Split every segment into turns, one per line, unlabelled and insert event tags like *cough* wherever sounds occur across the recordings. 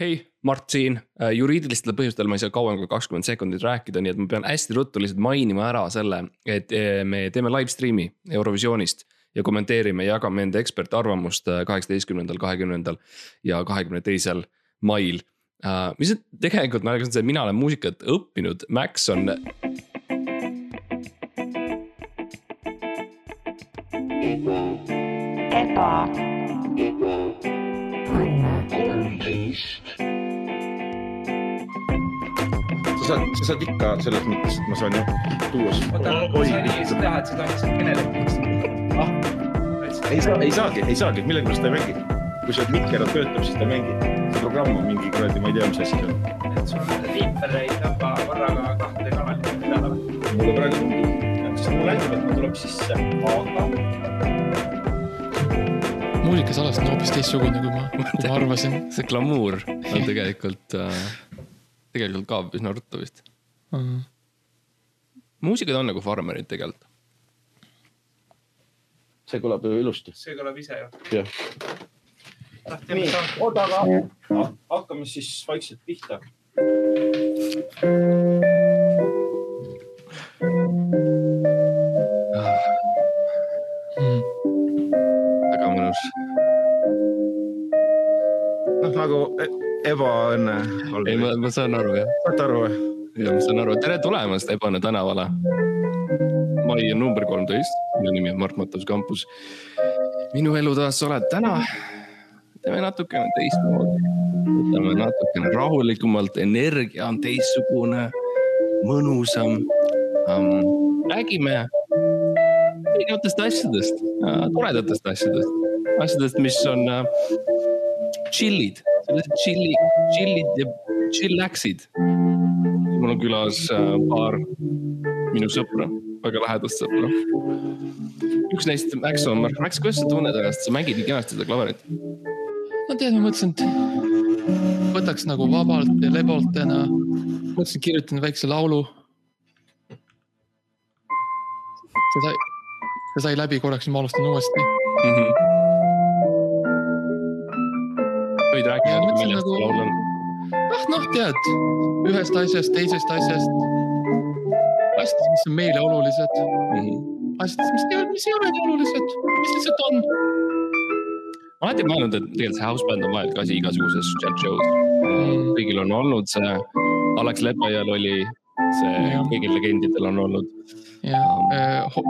hei , Mart siin . juriidilistel põhjustel ma ei saa kauem kui kakskümmend sekundit rääkida , nii et ma pean hästi ruttu lihtsalt mainima ära selle , et eh, me teeme live stream'i Eurovisioonist ja kommenteerime , jagame enda ekspertarvamust äh, kaheksateistkümnendal , kahekümnendal ja kahekümne teisel mail . mis on tegelikult naljakas on see , et mina olen muusikat õppinud , Max on
Peppa.
sa saad , sa saad ikka selles mõttes , et ma saan jah tuua
oota ,
su-
oi , lihtsalt teha , et seda lihtsalt kõneleb . ah ,
ei saa , ei saagi , ei saagi , millegipärast ta ei mängi . kui see mikker töötab , siis ta ei mängi . see programm on mingi kuradi , ma ei tea , mis asi see on .
et sul viiper ei tapa korraga kahte kanalit peale .
mulle praegu tundub , sest mulle näib , et ta tuleb sisse , aga
muusikasalast on hoopis teistsugune , kui ma , kui ma arvasin .
see glamuur on tegelikult , tegelikult ka üsna ruttu vist . muusikud on nagu farmerid tegelikult .
see kõlab ju ilusti .
see kõlab ise ju .
jah . nii , oota , aga hakkame siis vaikselt pihta .
Ah, väga mõnus .
noh , nagu e- ebaõnne .
ei , ma , ma saan aru jah ,
saad aru või ?
ja ma saan aru , tere tulemast Ebane tänavale . mai on number kolmteist , minu nimi on Mart Matus Kampus . minu elu taas sa oled täna . teeme natukene teistmoodi , võtame natukene rahulikumalt , energia on teistsugune , mõnusam um, . räägime erinevatest asjadest uh, , toredatest asjadest , asjadest , mis on uh, chill'id , sellised chill'i , chill'id ja chillax'id . mul on külas uh, paar minu sõpra , väga lähedast sõpra . üks neist , Max on , Max , kuidas sa tunned ennast , sa mängid nii kenasti seda klaverit .
no tead , ma mõtlesin , et võtaks nagu vabalt ja lebalt täna . mõtlesin , kirjutan väikse laulu . see sai , see sai läbi korraks , nüüd ma alustan uuesti .
Mhm. võid rääkida
Ja mõtlesin ,
millest
nagu-
sa laul on ?
ah noh , tead ühest asjast , teisest asjast . asjadest , mis on meile olulised ,
Mhm.
asjadest , mis ei ole , mis ei ole nii olulised , mis lihtsalt on .
ma olen alati mõelnud , et tegelikult see houseband on vajalik asi igasuguses chat show's . kõigil on olnud see , Alex Lepajal oli see
Jah. ,
kõigil legendidel on olnud .
ja äh, ho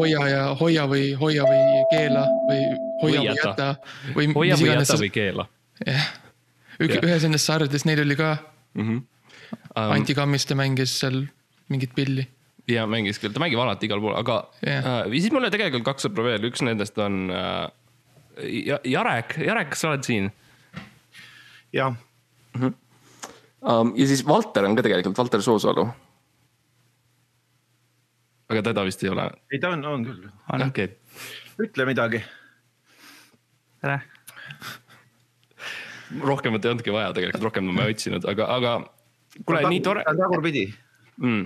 hoia ja hoia või hoia või keela või hoia
Või
või
jäta.
jäta või
hoia
mis
või
iganes
jäta . või keela .
Ük-
jah.
ühes nendest sarjades neil oli ka
Um,
Anti Kammiste mängis seal mingit pilli .
ja mängis küll , ta mängib alati igal pool , aga yeah.
Jah.
uh, siis mul on tegelikult kaks sõpra veel , üks nendest on uh, Ja- Jarek , Jarek , kas sa oled siin
jah ,
um, ? ja siis Valter on ka tegelikult , Valter Soosalu . aga teda vist ei ole .
ei ta on , on küll .
okei okay. ,
ütle midagi .
tere .
rohkemat ei olnudki vaja tegelikult , rohkem ma ei otsinud , aga , aga kuule , nii tore
ta on tagurpidi .
mm, .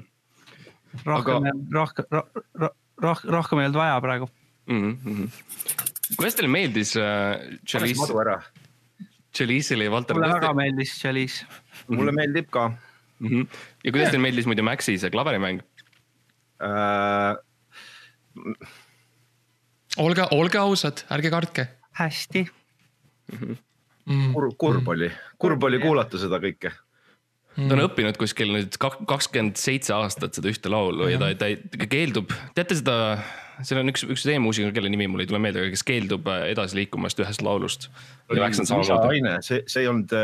rohkem
Aga- ,
rohkem , rohkem , rohkem ei olnud vaja praegu .
Mm -hmm. kuidas teile meeldis äh,
pane see
Chalice ,
madu ära .
Chalice'ile ja Valter
mulle väga
Tõste
meeldis Chalice .
mulle meeldib ka
mm ? -hmm. ja kuidas teile meeldis muidu Maxi see klaverimäng ?
äh, .
olge , olge ausad , ärge kartke
hästi .
mm. .
kurb , kurb oli , kurb oli kuulata seda kõike .
ta on õppinud kuskil nüüd kakskümmend seitse aastat seda ühte laulu ja ta , ta ei- ta keeldub , teate seda , seal on üks , üks teemuusik , kelle nimi mul ei tule meelde , aga kes keeldub äh, edasi liikumast ühest laulust .
lisaaine , see , see ei olnud ,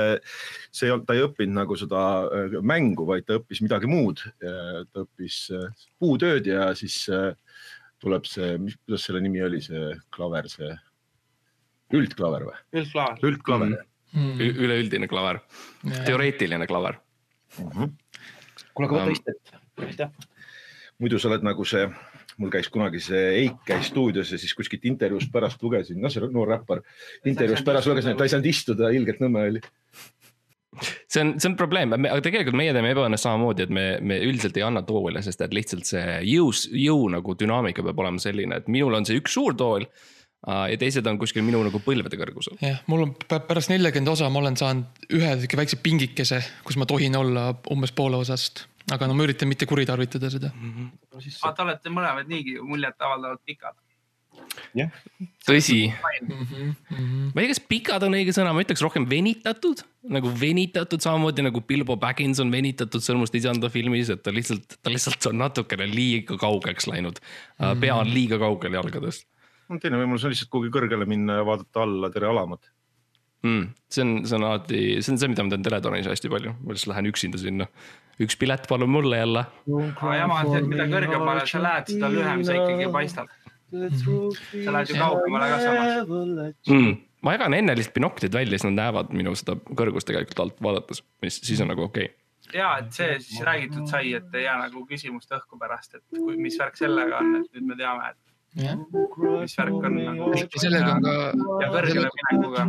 see ei olnud , ta ei õppinud nagu seda äh, mängu , vaid ta õppis midagi muud . ta õppis äh, puutööd ja siis äh, tuleb see , mis , kuidas selle nimi oli , see klaver , see üldklaver või ?
üldklaar .
üldklaver mm .
Hmm. üleüldine klaver , teoreetiline klaver .
-hmm.
kuule ,
aga võta
istet . aitäh .
muidu sa oled nagu see , mul käis kunagi see Eik käis stuudios ja siis kuskilt intervjuust pärast lugesin , noh , see noor räppar , intervjuust pärast lugesin , et ta ei saanud istuda , ilgelt nõme oli .
see on , see on probleem , aga tegelikult meie teeme ebaõnnest samamoodi , et me , me üldiselt ei anna toole , sest et lihtsalt see jõus , jõu nagu dünaamika peab olema selline , et minul on see üks suur tool . ja teised on kuskil minu nagu põlvede kõrgusel .
jah , mul on pä- pärast neljakümmend osa , ma olen saanud ühe sihuke väikse pingikese , kus ma tohin olla umbes poole osast , aga no ma üritan mitte kuritarvitada seda .
aga Ah, te olete mõlemad niigi muljetavaldavalt pikad .
tõsi ,
mm . -hmm.
ma ei tea , kas pikad on õige sõna , ma ütleks rohkem venitatud , nagu venitatud , samamoodi nagu Bilbo Baggins on venitatud Sõrmust isanda filmis , et ta lihtsalt , ta lihtsalt on natukene liiga kaugeks läinud . pea on liiga kaugel jalgadest
no teine võimalus on lihtsalt kuhugi kõrgele minna ja vaadata alla tere alamat .
mm, . see on , see on alati , see on see , mida ma teen Teletonis hästi palju , ma lihtsalt lähen üksinda sinna . üks pilet palun mulle jälle .
aga jama on see , et mida kõrgemale sa lähed , seda lühem sa ikkagi paistad . sa lähed ju kaugemale ka samas .
mm. . ma jagan enne lihtsalt binoklid välja , siis nad näevad minu seda kõrgust tegelikult alt vaadates , mis siis on nagu okei okay. .
ja , et see siis räägitud sai , et ei jää nagu küsimust õhku pärast , et kui, mis värk sellega on , et nüüd me teame , et mis värk on nagu .
sellega on ka ,
ja kõrgele minekuga .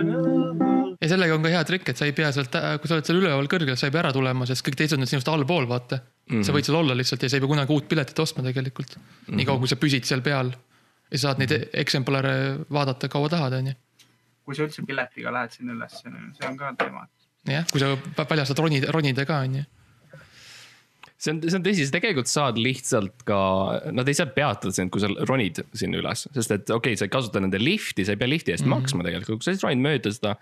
ja sellega on ka hea trikk , et sa ei pea sealt , kui sa oled seal üleval kõrgel , sa ei pea ära tulema , sest kõik teised on sinust allpool , vaata mm .
Mhm.
-hmm. sa võid seal olla lihtsalt ja sa ei pea kunagi uut piletit ostma tegelikult mm -hmm. . niikaua , kui sa püsid seal peal ja saad neid
Mhm.
eksemplare vaadata , kaua tahad , onju .
kui sa üldse piletiga lähed sinna üles , see on ka teema .
jah , kui sa vä- välja saad ronida , ronida ka , onju .
see on , see on tõsi , sa tegelikult saad lihtsalt ka , nad ei saa peatada sind , kui sa ronid sinna üles , sest et okei okay, , sa ei kasuta nende lifti , sa ei pea lifti eest mm -hmm. maksma tegelikult , kui sa siis ronid mööda seda .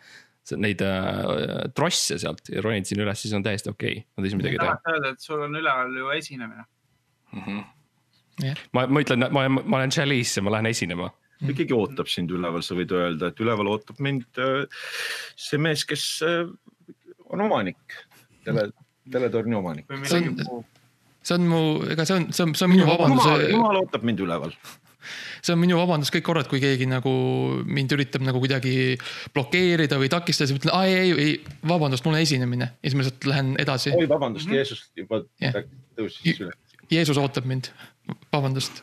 Neid äh, trosse sealt ja ronid sinna üles , siis on täiesti okei okay. , nad ei saa midagi teha .
tahad öelda , et sul on üleval ju esinemine .
ma , ma ütlen , ma , ma olen Chalice ja ma lähen esinema .
kui keegi ootab sind üleval , sa võid öelda , et üleval ootab mind äh, see mees , kes äh, on omanik , tele , teletorni omanik .
või
See on-
millegi muu .
see on mu , ega see on , see on , see on minu
jumal ,
vabandus , äh,
jumal ootab mind üleval .
see on minu vabandus kõik korrad , kui keegi nagu mind üritab nagu kuidagi blokeerida või takistada , siis ma ütlen , ei , ei , ei , vabandust , mul on esinemine ja siis ma lihtsalt lähen edasi .
oi , vabandust , Jeesus juba
Jah.
tõusis üle .
Jeesus ootab mind , vabandust .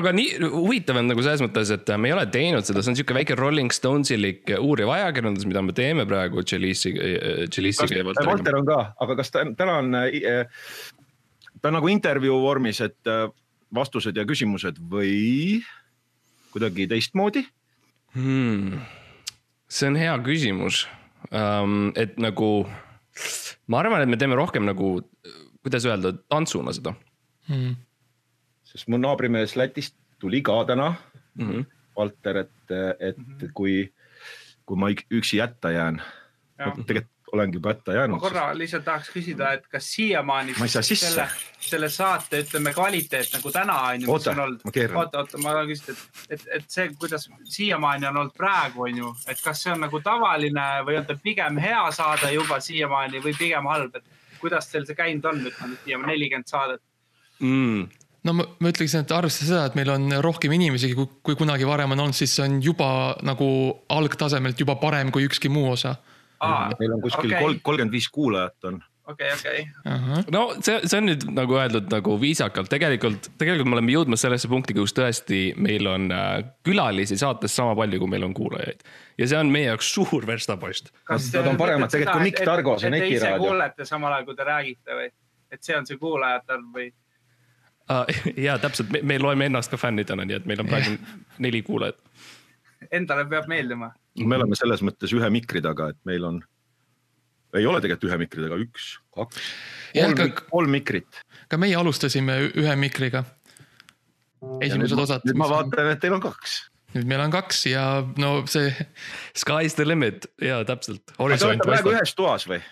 aga nii huvitav on nagu selles mõttes , et me ei ole teinud seda , see on sihuke väike Rolling Stonesilik uuriv ajakirjandus , mida me teeme praegu Chalice'i , Chalice'iga ja Valteriga .
Valter on ka , aga kas ta täna on , ta on nagu intervjuu vormis , et äh, vastused ja küsimused või kuidagi teistmoodi ?
Hmm. see on hea küsimus um, , et nagu ma arvan , et me teeme rohkem nagu , kuidas öelda , tantsuna seda
sest mu naabrimees Lätist tuli ka täna ,
mm . -hmm.
Valter , et , et kui , kui ma ik- üksi jätta jään . tegelikult olengi juba jätta
ma
jäänud .
korra lihtsalt tahaks küsida , et kas siiamaani
Ma ei saa sisse.
selle , selle saate , ütleme , kvaliteet nagu täna on ju , mis
Oota,
on olnud .
ma keeran.
oota , oota , ma tahan küsida , et , et , et see , kuidas siiamaani on olnud praegu , on ju , et kas see on nagu tavaline või on ta pigem hea saade juba siiamaani või pigem halb , et kuidas teil see käinud on , ütleme , siiamaani nelikümmend saadet .
Mm.
no ma, ma ütleksin , et arvestades seda , et meil on rohkem inimesi , kui, kui kunagi varem on olnud , siis see on juba nagu algtasemelt juba parem kui ükski muu osa .
meil on kuskil kolm , kolmkümmend viis kuulajat on .
okei , okei ,
no see , see on nüüd nagu öeldud nagu viisakalt , tegelikult , tegelikult me oleme jõudmas sellesse punkti , kus tõesti meil on äh, külalisi saates sama palju , kui meil on kuulajaid . ja see on meie jaoks suur verstapost .
Nad- nad on paremad tegelikult kui Mikk Targo, see netiraadio.
kuulete samal ajal , kui te räägite või , et see on see kuulajate arv või ?
ja Äh, täpselt , me me loeme ennast ka fännidena , nii et meil on *laughs* praegu neli kuulajat .
Endale peab meeldima .
me oleme selles mõttes ühe mikri taga , et meil on , ei ole tegelikult ühe mikri taga , üks , kaks ,
Jah,
kolm
aga- ,
kolm mikrit .
ka meie alustasime ü- ühe mikriga . esimesed osad .
nüüd ma vaatan , et teil on kaks .
nüüd meil on kaks ja no see ,
Sky's the limit ja täpselt .
Te olete
horisont
praegu
paistab .
ühes toas või ?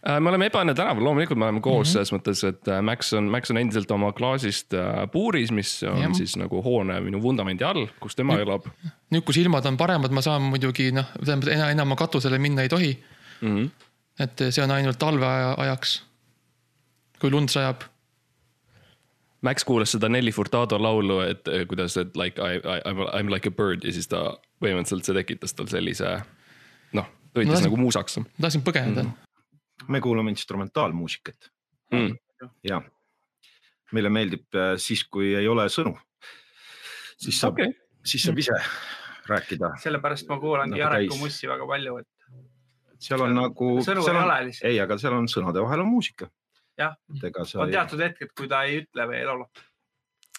Äh, me oleme Ebaõnne tänaval , loomulikult me oleme koos mm -hmm. selles mõttes , et äh, Max on , Max on endiselt oma klaasist äh, puuris , mis on
Jah.
ja. siis nagu hoone minu vundamendi all , kus tema elab
nüüd , kus ilmad on paremad , ma saan muidugi noh , tähendab enam , enam ma katusele minna ei tohi .
mm .
Mhm.
-hmm
et see on ainult talveaja ajaks . kui lund sajab .
Max kuulas seda Nelli Furtado laulu , et eh, kuidas , et like I, I , I m like a bird ja siis ta põhimõtteliselt see tekitas tal sellise noh ,
No
tõitis
las-
no, nagu muusaks mm. .
ma tahtsin põgeneda
Mhm.
mm. .
me kuulame instrumentaalmuusikat
Mm.
ja meile meeldib äh, siis , kui ei ole sõnu . siis saab
Okei.
okay. , siis
Mm.
saab ise rääkida ,
sellepärast ma kuulangi
Nagu
Jareku
täis.
mussi väga palju , et
seal on nagu .
sõnu ei ole lihtsalt .
ei , aga seal on sõnade vahel on muusika .
Jah.
et ega sa
on . teatud hetked , kui ta ei ütle veel laulu .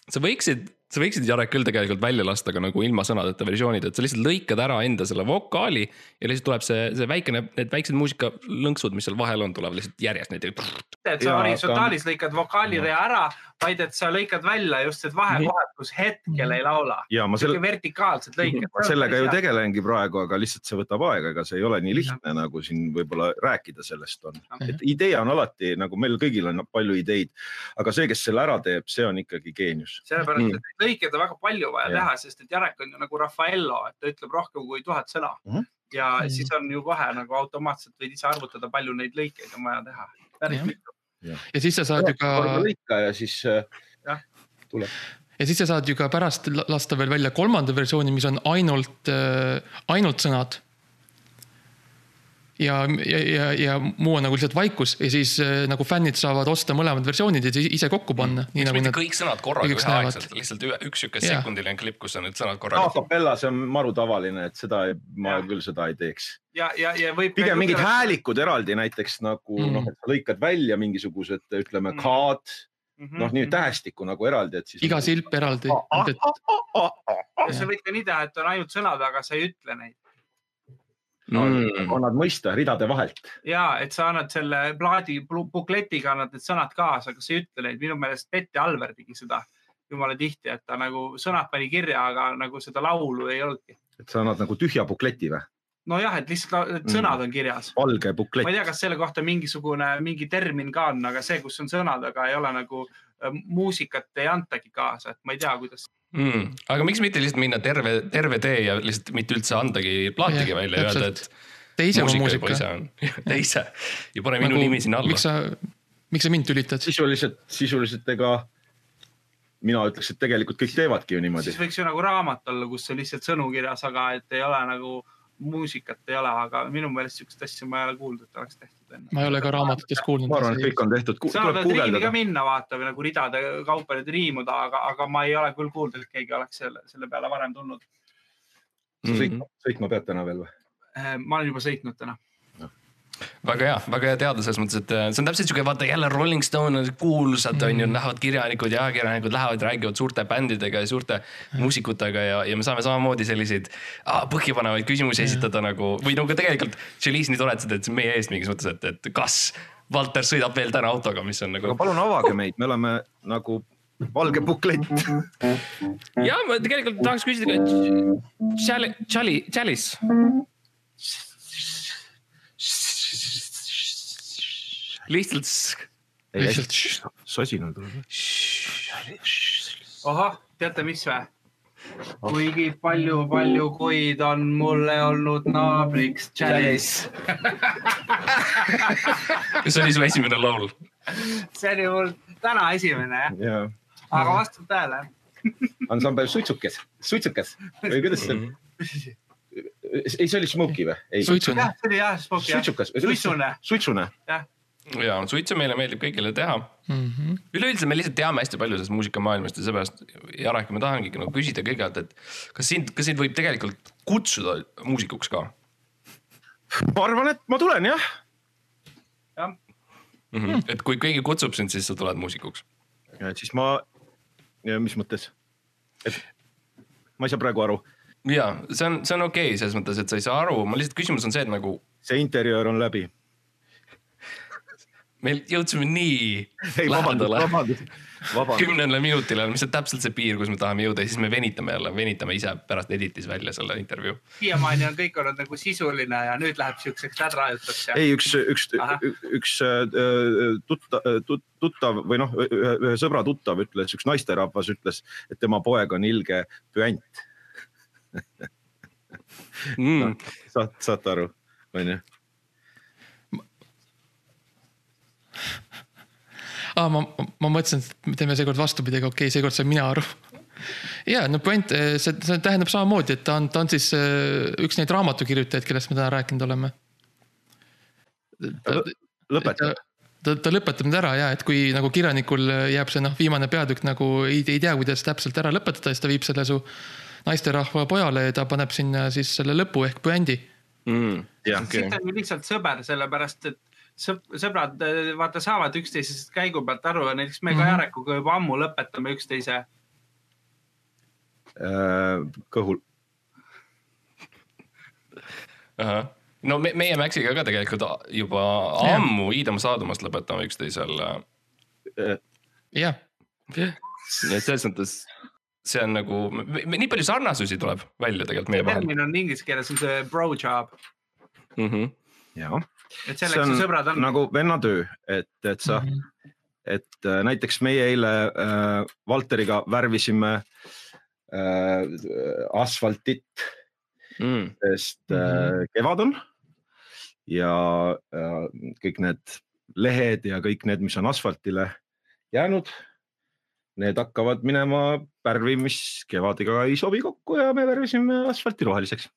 sa võiksid sa võiksid Jarek küll tegelikult välja lasta, aga nagu ilma sõnadeta versioonid, et sa lihtsalt lõikad ära enda selle vokaali. ja lihtsalt tuleb see, see väikene, need väiksed muusikalõnksud, mis seal vahel on, tulevad lihtsalt järjest näiteks.
et sa
Jaa,
horisontaalis lõikad vokaalirea ära , vaid et sa lõikad välja just need vahekohad , kus hetkel ei laula .
ja ma selle ,
sihuke vertikaalselt lõiked .
ma sellega ju . tegelengi praegu , aga lihtsalt see võtab aega , ega see ei ole nii lihtne , nagu siin võib-olla rääkida sellest on . et idee on alati nagu meil kõigil on palju ideid , aga see , kes selle ära teeb , see on ikkagi geenius .
sellepärast ,
Mm.
et neid lõikeid on väga palju vaja
Jah.
teha , sest et Jarek on ju nagu Raffaello , et ta ütleb rohkem kui tuhat sõna
Mhm.
ja
Mm.
siis on ju kohe nagu automaatselt võid ise arvutada , palju neid lõikeid on vaja teha .
Jah. ja siis sa saad ju ka ,
Noh, lõika ja siis äh,
ja siis sa saad ju ka pärast la- lasta veel välja kolmanda versiooni , mis on ainult , ainult sõnad . ja , ja , ja , ja muu on nagu lihtsalt vaikus ja siis äh, nagu fännid saavad osta mõlemad versioonid ja siis ise kokku panna ,
Mm.
nii
miks
nagu
mitte
nad .
kõik sõnad korraga
kõigiks näevad.
üheaegselt , lihtsalt ühe, üks sihuke
Jaa.
sekundiline klipp , kus on need sõnad
a
korraga .
capella , see on maru tavaline , et seda ei- ma
Jah.
küll seda ei teeks .
ja , ja , ja võib .
pigem mingid . häälikud eraldi näiteks nagu
Mm.
mm. noh , et sa lõikad välja mingisugused , ütleme
Mm.
k-d ,
Mhm,
noh , nii . tähestikku nagu eraldi , et siis .
iga silp eraldi .
Ah,
sa võid ka nii teha , et on ainult sõnad , aga sa ei ütle neid
Mm.
annad mõista ridade vahelt .
ja et sa annad selle plaadi plu- bukletiga annad need sõnad kaasa , aga sa ei ütle neid , minu meelest Petti Alver tegi seda jumala tihti , et ta nagu sõnad pani kirja , aga nagu seda laulu ei olnudki .
et sa annad nagu tühja bukleti või ?
nojah , et lihtsalt la- need sõnad on kirjas .
valge buklett
ma ei . tea , kas selle kohta mingisugune , mingi termin ka on , aga see , kus on sõnad , aga ei ole nagu äh, muusikat ei antagi kaasa , et ma ei tea , kuidas .
Mm. aga miks mitte lihtsalt minna terve , terve tee ja lihtsalt mitte üldse andagi plaatigi
Jah,
välja , öelda ,
täpselt.
et
tee ise oma
muusika juba
muusika Nagu
ise . on . *laughs* tee ise ja pane minu nimi sinna alla
miks . sa , miks sa mind tülitad ?
sisuliselt , sisuliselt ega mina ütleks , et tegelikult kõik teevadki ju niimoodi
siis . võiks ju nagu raamat olla , kus on lihtsalt sõnu kirjas , aga et ei ole nagu muusikat ei ole , aga minu meelest sihukest asja ma ei ole kuulnud , et oleks tehtud enne .
ma ei ole ka raamatutest kuulnud .
ma arvan , et kõik on tehtud ,
seal
tuleb
pead riimi ka
guugeldada .
minna vaata või nagu ridade kaupa nüüd riimuda , aga , aga ma ei ole küll kuulnud , et keegi oleks selle , selle peale varem tulnud .
Mhm.
sõitma pead täna veel või ?
Eh, ma olen juba sõitnud täna .
väga hea , väga hea teada selles mõttes , et äh, see on täpselt sihuke vaata jälle Rolling Stone on kuulsad on ju , lähevad kirjanikud ja ajakirjanikud lähevad , räägivad suurte bändidega ja suurte muusikutega ja , ja me saame samamoodi selliseid ah, põhjapanevaid küsimusi esitada nagu või nagu tegelikult . Chalice nii tore , et sa teed meie eest mingis mõttes , et , et kas Valter sõidab veel täna autoga , mis on nagu
aga palun avage meid , me oleme nagu valge buklett .
ja ma tegelikult tahaks küsida ka . Chali- , Chali- , Chalice . lihtsalt .
lihtsalt .
sosinal tuleb .
ahah , teate mis vä ? kuigi palju-palju kuid on mulle olnud naabriks Chalice .
see oli su esimene laul .
see oli mul täna esimene jah ,
ja
aga vastab tõele .
ansambel Suitsukas ,
*laughs*
Suitsukas või kuidas see , ei , see oli Smoky või ?
suitsune
jah , see oli jah , Smoke jah .
suitsukas ,
suitsune ,
suitsune ,
jah .
ja suitsu meile meeldib kõigile teha .
mm . -hmm.
üleüldiselt me lihtsalt teame hästi palju sellest muusikamaailmast ja seepärast , Jarek , ma tahangi nagu küsida kõigepealt , et kas sind , kas sind võib tegelikult kutsuda muusikuks ka
ma arvan , et ma tulen jah ,
jah ,
mm ? -hmm. et kui keegi kutsub sind , siis sa tuled muusikuks .
siis ma , mis mõttes ? et ma ei saa praegu aru ,
ja see on , see on okei okay, selles mõttes , et sa ei saa aru , ma lihtsalt küsimus on see , et nagu
see interjöör on läbi .
meil jõudsime nii
ei , vabandust ,
lähedale ,
vabandust , vabandust .
kümnele minutile , mis on täpselt see piir , kus me tahame jõuda ja siis me venitame jälle , venitame ise pärast editis välja selle intervjuu .
siiamaani on kõik olnud nagu sisuline ja nüüd läheb siukseks nädrajutuks ja .
ei , üks , üks
Ahah. ,
üks äh, tuttav , äh, tuttav või noh , ühe ühe sõbra tuttav ütles , üks naisterahvas ütles , et tema poeg on ilge püant . *laughs*
mm. .
Noh, saad , saate aru , onju .
ah, . ma , ma mõtlesin , et me teeme seekord vastupidi , aga okei okay, , seekord sain mina aru . ja no point , see , see tähendab samamoodi , et ta on , ta on siis eh, üks neid raamatukirjutajaid , kellest me täna rääkinud oleme . ta ,
lõpeta .
ta, ta lõpetab nüüd ära ja et kui nagu kirjanikul jääb see noh , viimane peatükk nagu ei, ei tea , kuidas täpselt ära lõpetada , siis ta viib selle su naisterahva pojale ja ta paneb sinna siis selle lõpu ehk püändi .
Mm.
jah ,
okay. , siis ta on ju lihtsalt sõber , sellepärast et sõp- sõbrad äh, vaata saavad üksteisest käigu pealt aru ja näiteks me ka
Mhm.
Jarekuga juba ammu lõpetame üksteise
Äh, kõhul.
ahah , no me, meie Maxiga ka tegelikult a- juba
Jah.
ammu iidam-saadumas lõpetame üksteisel . äh,
jah ,
nii et selles mõttes see on nagu , nii palju sarnasusi tuleb välja tegelikult meie vahel
termin on inglise keeles on see bro job ,
mm . -hmm.
jah ,
et
see
selleks
on
ju sõbrad on .
nagu vennatöö , et , et sa , et äh, näiteks meie eile äh, Valteriga värvisime äh, asfaltit
Mm.
sest mm -hmm. kevad on ja äh, kõik need lehed ja kõik need , mis on asfaltile jäänud , need hakkavad minema värvi , mis kevadega ei sobi kokku ja me värvisime asfalti roheliseks .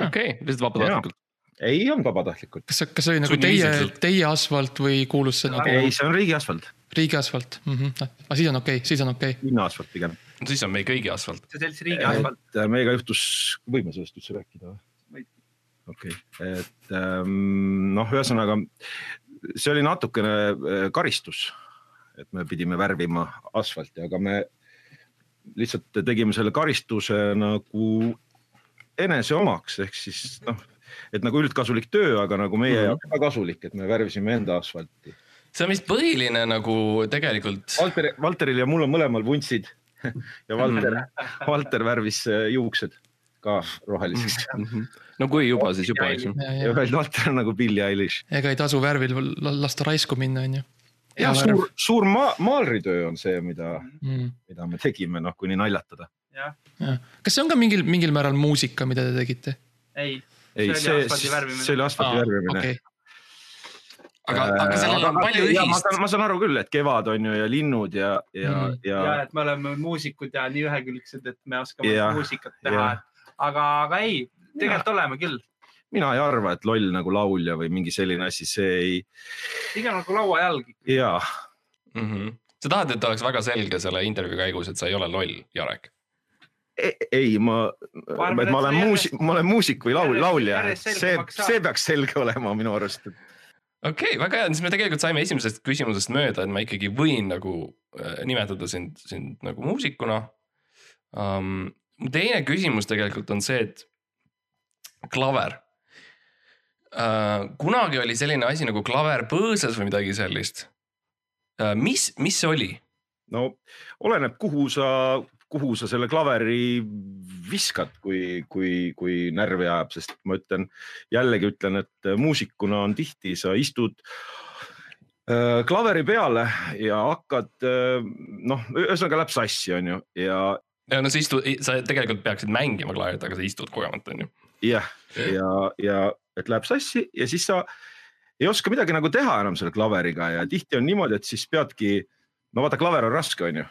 okei okay, , lihtsalt vabatahtlikult .
ei olnud vabatahtlikult ,
kas , kas see oli nagu teie
Sunniviisiliselt. ,
teie asfalt või kuulus see nagu
ei , see on riigiasfalt ,
riigi asfalt mm ? -hmm. aga siis on okei okay, , siis on okei okay. .
linnaasfalt pigem .
siis on meie kõigi asfalt .
see selts riigi asfalt ,
äh, meiega juhtus , võime sellest üldse rääkida või
Võid. ?
okei okay. , et ähm, noh , ühesõnaga see oli natukene äh, karistus , et me pidime värvima asfalti , aga me lihtsalt tegime selle karistuse nagu enese omaks , ehk siis noh , et nagu üldkasulik töö , aga nagu meie
Mhm.
jaoks mm -hmm. ka kasulik , et me värvisime enda asfalti .
see on vist põhiline nagu tegelikult .
Valter , Valteril ja mul on mõlemal vuntsid ja Valter , Valter värvis äh, juuksed ka roheliseks
Mm. Mhm. no kui juba , siis juba , eks ju .
ja veel Valter on nagu Billie Eilish .
ega ei tasu värvil la- lasta raisku minna , onju .
ja suur , suur ma- , maalritöö on see , mida ,
mm. .
mida me tegime , noh , kui nii naljatada .
jah ,
kas see on ka mingil , mingil määral muusika , mida te tegite ?
ei .
ei , see , see oli asfaldi värvimine .
okei ,
aga , Äh, aga sellel on palju
ma
ühist .
saan , ma saan aru küll , et kevad on ju ja linnud ja , ja
Mhm.
mm. , ja,
ja
ja ,
et me oleme muusikud ja nii ühekülgsed , et me oskame
Jah,
muusikat teha
jah. ,
aga , aga ei , tegelikult oleme küll .
mina ei arva , et loll nagu laulja või mingi selline asi , see ei ,
pigem nagu lauajalg .
jaa ,
Mhm. sa tahad , et oleks väga selge selle intervjuu käigus , et sa ei ole loll , Jarek ?
E, ei , ma ,
Ma arvan,
et ma
et
olen
see
muusik , ma olen muusik või laul ,
järjest-
laulja ,
järjest
see
selgemaks , saab.
see peaks selge olema minu arust .
okei okay, , väga hea , siis me tegelikult saime esimesest küsimusest mööda , et ma ikkagi võin nagu äh, nimetada sind , sind nagu muusikuna um, . teine küsimus tegelikult on see , et klaver uh, . kunagi oli selline asi nagu klaver põõsas või midagi sellist uh, . mis , mis see oli ?
no oleneb , kuhu sa , kuhu sa selle klaveri viskad , kui , kui , kui närvi ajab , sest ma ütlen , jällegi ütlen , et muusikuna on tihti , sa istud öö, klaveri peale ja hakkad , noh , ühesõnaga läheb sassi , on ju , ja
no sa istud , sa tegelikult peaksid mängima klaverit , aga sa istud kogemata , onju .
jah , ja , ja et läheb sassi ja siis sa ei oska midagi nagu teha enam selle klaveriga ja tihti on niimoodi , et siis peadki , no vaata , klaver on raske , on ju ,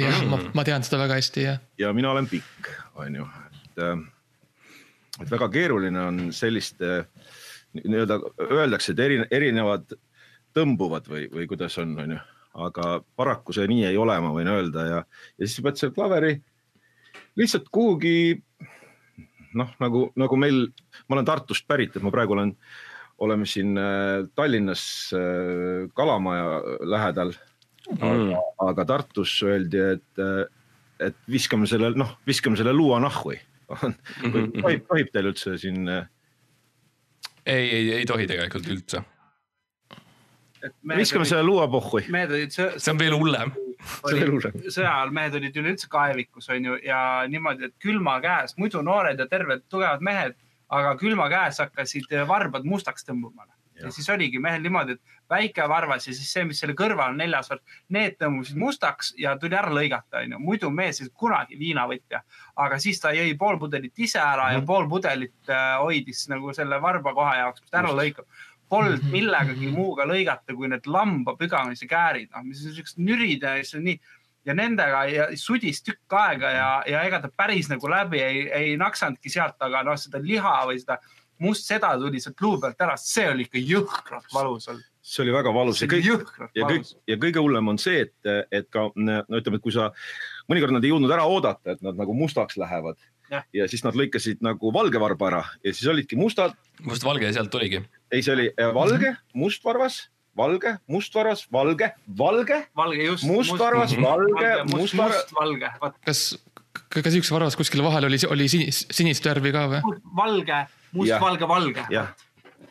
jah , ma
Mm. ,
ma tean seda väga hästi ja
ja mina olen pikk , on ju , et , et väga keeruline on selliste nii- nii-öelda öeldakse , et eri , erinevad tõmbuvad või , või kuidas on , on ju , aga paraku see nii ei ole , ma võin öelda ja , ja siis sa pead selle klaveri lihtsalt kuhugi noh , nagu , nagu meil , ma olen Tartust pärit , et ma praegu olen , oleme siin äh, Tallinnas äh, Kalamaja lähedal
Mm.
aga Tartus öeldi , et , et viskame selle , noh , viskame selle luua nahhui . *laughs* tohib , tohib teil üldse siin ,
ei , ei , ei tohi tegelikult üldse ,
nagu
viskame selle luua pohhui .
mehed olid
*laughs*
sõ-
see on veel hullem .
selle
oli-
luure .
sõja ajal mehed olid üleüldse kaevikus , onju , ja niimoodi , et külma käes , muidu noored ja terved tugevad mehed , aga külma käes hakkasid varbad mustaks tõmbuma . ja
Jah.
siis oligi mehel niimoodi , et väike varvas ja siis see , mis selle kõrval on neljas värv , need tõmbusid mustaks ja tuli ära lõigata , onju . muidu mees ei olnud kunagi viinavõtja , aga siis ta jõi pool pudelit ise ära ja
Mhm.
pool pudelit äh, hoidis nagu selle varba koha jaoks , mis ta ära
Just.
lõikab . Polnud
Mhm,
millegagi
mhm.
muuga lõigata , kui need lambapügamise käärid , noh , mis on siuksed nürid ja siis on nii ja nendega ja sudis tükk aega ja , ja ega ta päris nagu läbi ei , ei naksanudki sealt , aga noh , seda liha või seda must seda tuli sealt luu pealt ära , see oli ikka jõhkralt valus olnud .
see oli väga valus ja
see oli
kõik ,
jõhkralt
ja kõik
valus .,
ja kõige hullem on see , et , et ka no ütleme , et kui sa , mõnikord nad ei jõudnud ära oodata , et nad nagu mustaks lähevad
Jah.
ja siis nad lõikasid nagu valge varba ära ja siis olidki mustad ,
mustvalge sealt tuligi .
ei , see oli äh, valge , must varvas , valge , must varvas , valge , valge ,
valge just .
must varvas ,
Mhm.
valge ,
must ,
must varvas
must , valge , vot
kas , kas üks varas kuskil vahel oli , oli sinist, sinist värvi ka või ?
valge , must ,
Jah.
valge , valge .
jah ,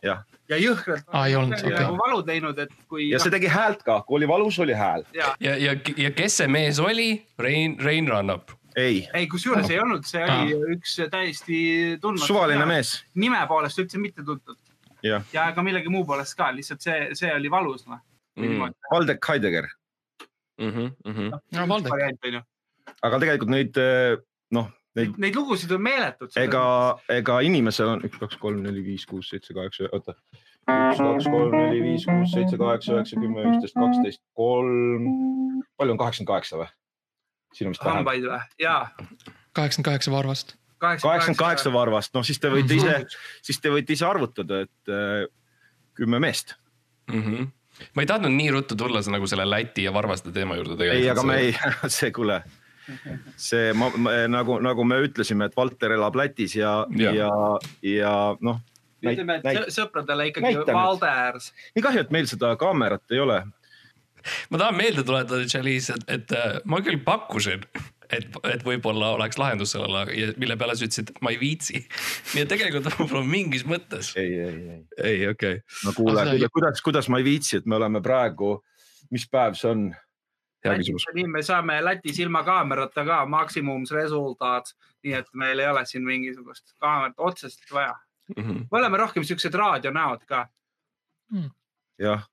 jah .
ja jõhkralt
Aa, ei olnud, okei.
nagu valu teinud , et kui . noh,
ja see tegi häält ka , kui oli valus , oli hääl .
ja
ja , ja , ja kes see mees oli ? Rein , Rein Rannap .
ei ,
ei , kusjuures ei olnud , see oli üks täiesti tundmatu .
suvaline . mees ,
nime poolest üldse mitte tuntud
jah .
ja ka millegi muu poolest ka , lihtsalt see , see oli valus noh .
Valdek Heidegger ,
no Valdek ,
aga tegelikult neid noh , neid ,
Neid lugusid on meeletult .
ega , ega inimesel on üks , kaks , kolm , neli , viis , kuus , seitse , kaheksa , oota . üks , kaks , kolm , neli , viis , kuus , seitse , kaheksa , üheksa , kümme , üksteist , kaksteist , kolm , palju on kaheksakümmend kaheksa või ? siin on vist vähem .
hambaid või ? jaa .
kaheksakümmend kaheksa varvast .
kaheksakümmend kaheksa . varvast , noh siis te võite ise , siis te võite ise arvutada , et äh, kümme meest .
ma ei tahtnud nii ruttu tulla see nagu selle Läti ja varvaste teema juurde
ei , aga me ei , *laughs* see kuule , see ma, ma, nagu , nagu me ütlesime , et Valter elab Lätis ja ,
Jaa.
ja , ja noh .
ütleme , et sõ-
nii
sõpradele ikkagi
Näita nüüd.
valde ääres .
kahju , et meil seda kaamerat ei ole .
ma tahan meelde tuletada , Charlize , et , et äh, ma küll pakkusin , et , et võib-olla oleks lahendus sellele , mille peale sa ütlesid , et ma ei viitsi . *laughs* nii et tegelikult võib-olla mingis mõttes .
ei , ei , ei .
ei , okei okay. .
no kuule
Aga seda ei- ,
kuidas , kuidas ma ei viitsi , et me oleme praegu , mis päev see on ?
hea küsimus .
nii me saame Lätis ilma kaamerata ka maksimumresultaat , nii et meil ei ole siin mingisugust kaamerat otseselt vaja . me oleme rohkem siuksed raadionäod ka .
jah ,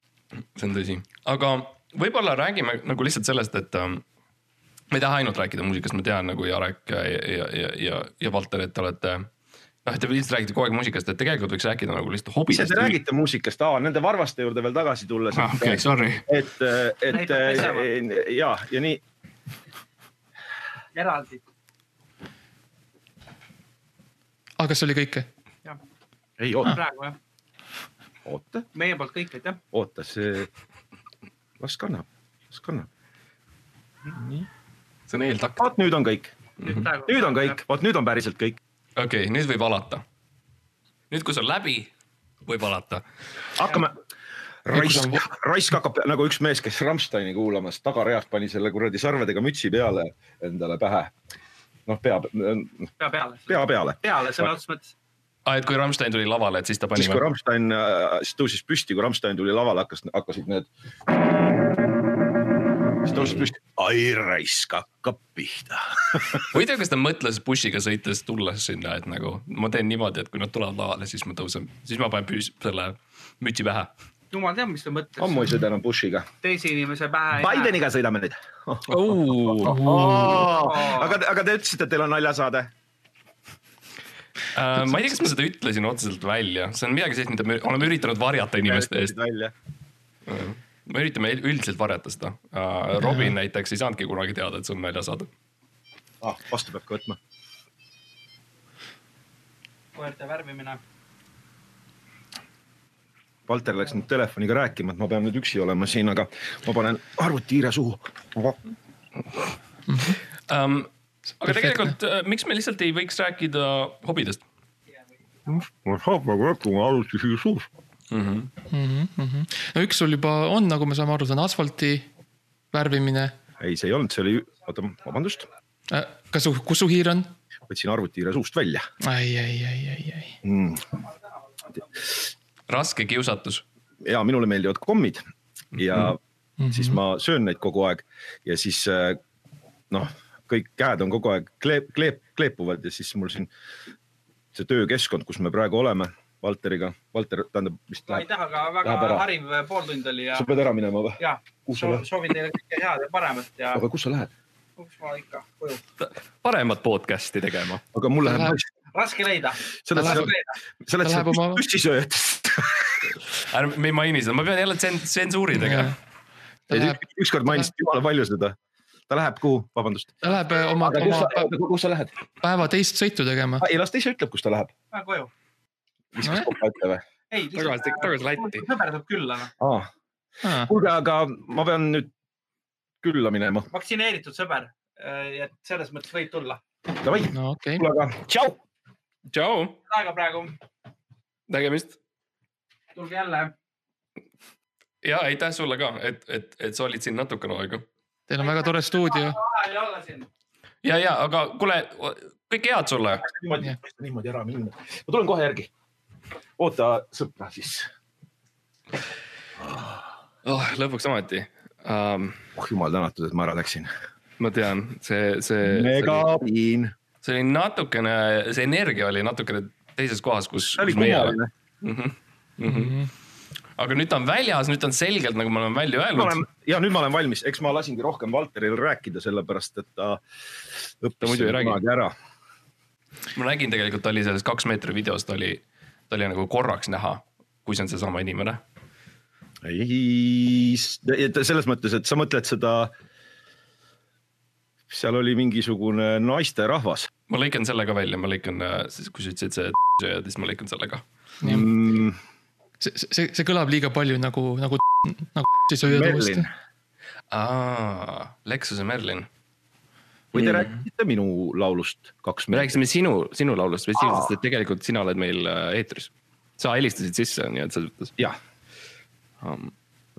see on tõsi , aga võib-olla räägime nagu lihtsalt sellest , et ähm, ma ei taha ainult rääkida muusikast , ma tean nagu Jarek ja , ja , ja , ja , ja Valter , et te olete . noh , te lihtsalt räägite kogu aeg muusikast , et tegelikult võiks rääkida nagu lihtsalt
ise
hobidest
te . räägite muusikast , nende varvaste juurde veel tagasi tulles .
okei , sorry .
et , et
Näidake pesema.
eh, ja , ja nii ,
eraldi .
aga kas oli kõike ?
ei oota ,
praegu jah ,
oota
meie poolt kõik , aitäh .
oota , see , las kannab , las kannab .
see on eeltakt .
vaat nüüd on kõik ,
nüüd praegu-
Mhm. nüüd on kõik , vot nüüd on päriselt kõik .
okei okay, , nüüd võib alata . nüüd , kui see on läbi , võib alata .
hakkame , raisk , raisk hakkab nagu üks mees , kes Rammsteini kuulamas tagareast pani selle kuradi sarvedega mütsi peale endale pähe . noh , pea ,
pea peale .
pea peale .
peale sõna otseses mõttes .
aa , et kui Rammstein tuli lavale , et siis ta pani
siis kui . Rammstein , siis tõusis püsti , kui Rammstein tuli lavale , hakkas , hakkasid need . siis tõusis püsti , ai raisk hakkab pihta .
ma ei tea , kas ta mõtles bussiga sõites tulles sinna , et nagu ma teen niimoodi , et kui nad tulevad lavale , siis ma tõusen , siis ma panen püs- , selle mütsi pähe .
jumal teab , mis ta
ammu
mõtles .
ei sõida enam bushiga .
teise inimese pähe .
Bideniga sõidame nüüd . aga , aga te ütlesite , et teil on naljasaade
Äh, ma ei tea , kas *laughs* ma seda ütlesin otseselt välja , see on midagi sellist , mida me oleme üritanud varjata inimeste eest .
välja .
me üritame üldiselt varjata seda . Robin näiteks ei saanudki kunagi teada , et see on naljasaade .
ah, . vastu peab ka võtma .
koerte värvimine .
Valter läks nüüd telefoniga rääkima , et ma pean nüüd üksi olema siin , aga ma panen arvuti hiire suhu .
Um, aga
Perfektne.
tegelikult , miks me lihtsalt ei võiks rääkida hobidest
ma nagu saan praegu rääkima arvuti hiire suus .
mm ? -hmm.
no üks sul juba on , nagu me saame aru , see on asfalti värvimine .
ei , see ei olnud , see oli , oota , vabandust ,
kas su , kus su hiir on ?
võtsin arvuti hiire suust välja
ai , ai , ai , ai , ai .
mm. .
raske kiusatus .
ja minule meeldivad kommid ja mm -hmm. siis ma söön neid kogu aeg ja siis äh, noh , kõik käed on kogu aeg kleep , kleep , kleepuvad ja siis mul siin see töökeskkond , kus me praegu oleme Valteriga , Valter tähendab vist
ma ei
läheb ,
taha , aga
Läheb ära.
väga hariv äh, pool tundi oli ja
sa , pead ära minema või ?
ja
Kuhu sa
soo-
lähed?
soovin teile kõike head ja paremat ja
aga kus sa lähed ?
kus ma ikka koju .
paremat podcast'i tegema .
aga mul
Ta
läheb
läheb-
hästi ,
raske leida .
selles
ta läheb-
mõttes , selles
ta läheb
mõttes
oma-
püssisööjatest .
ärme , me ei maini seda , ma pean jälle tsen- , tsensuuri tegema .
ta läheb ,
ükskord mainisid jumala palju seda . ta läheb kuhu , vabandust .
ta läheb oma ,
aga kus
oma
sa , kus sa lähed ?
päeva teist sõitu tegema .
ei las ta ise ütleb , kus ta läheb .
Lähen koju .
viskas kopa ette või ?
ei ,
Tagasi- tagasi Lätti.
sõber saab külla noh ,
aa kuulge , aga ma pean nüüd külla minema .
vaktsineeritud sõber . ja selles mõttes võib tulla .
Davai ,
no okei okay. ,
kuule aga tšau .
tšau ,
aega praegu ,
nägemist .
tulge jälle .
ja aitäh sulle ka , et , et , et sa olid siin natukene aega .
teil on väga tore stuudio .
hea oli olla siin .
ja , ja , aga kuule , kõike head sulle .
niimoodi , niimoodi ära minna . ma tulen kohe järgi . oota sõpra siis .
oh, . lõpuks ometi um, .
oh jumal tänatud , et ma ära läksin .
Äh,
ma tean , see , see ,
megapiin .
see oli natukene , see energia oli natukene teises kohas , kus .
see oli kummaline .
aga nüüd ta on väljas , nüüd ta on selgelt , nagu me oleme välja
ma
öelnud
olen , ja nüüd ma olen valmis , eks ma lasingi rohkem Valteril rääkida , sellepärast et ta
Ta
õppis
muidu ei
selle
räägi.
kunagi ära .
ma nägin tegelikult , ta oli selles kaks meetri videos , ta oli , ta oli nagu korraks näha , kui see on seesama inimene .
ei , selles mõttes , et sa mõtled seda . seal oli mingisugune naisterahvas
ma lõikan selle ka välja , ma lõikan , siis kui sa ütlesid see , *laughs* siis ma lõikan selle ka .
mm, .
see , see , see kõlab liiga palju nagu , nagu , *laughs* nagu siis sööd uuesti
Merlin .,
Lexuse Merlin .
või te
Mm.
rääkisite minu laulust kaks
me
minutit ?
rääkisime sinu , sinu laulust või sisuliselt , et tegelikult sina oled meil äh, eetris . sa helistasid sisse , nii et selles mõttes
jah ,
um, .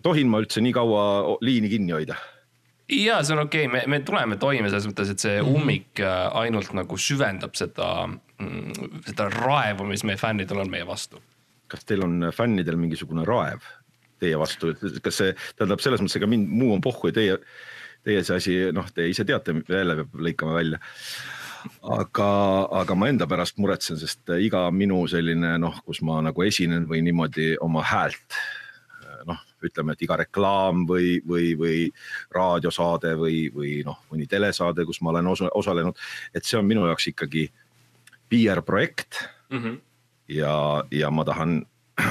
tohin ma üldse nii kaua o- liini kinni hoida ?
ja see on okei okay. , me , me tuleme toime selles mõttes , et see ummik äh, ainult nagu süvendab seda , seda raevu , mis meie fännidel on meie vastu .
kas teil on fännidel mingisugune raev teie vastu , kas see tähendab selles mõttes , ega mind muu on pohhu ja teie , teie see asi , noh , te ise teate , jälle peab lõikama välja . aga , aga ma enda pärast muretsen , sest iga minu selline noh , kus ma nagu esinen või niimoodi oma häält noh , ütleme , et iga reklaam või , või , või raadiosaade või , või noh , mõni telesaade , kus ma olen osa, osalenud , et see on minu jaoks ikkagi PR-projekt
Mm -hmm.
ja , ja ma tahan *clears throat*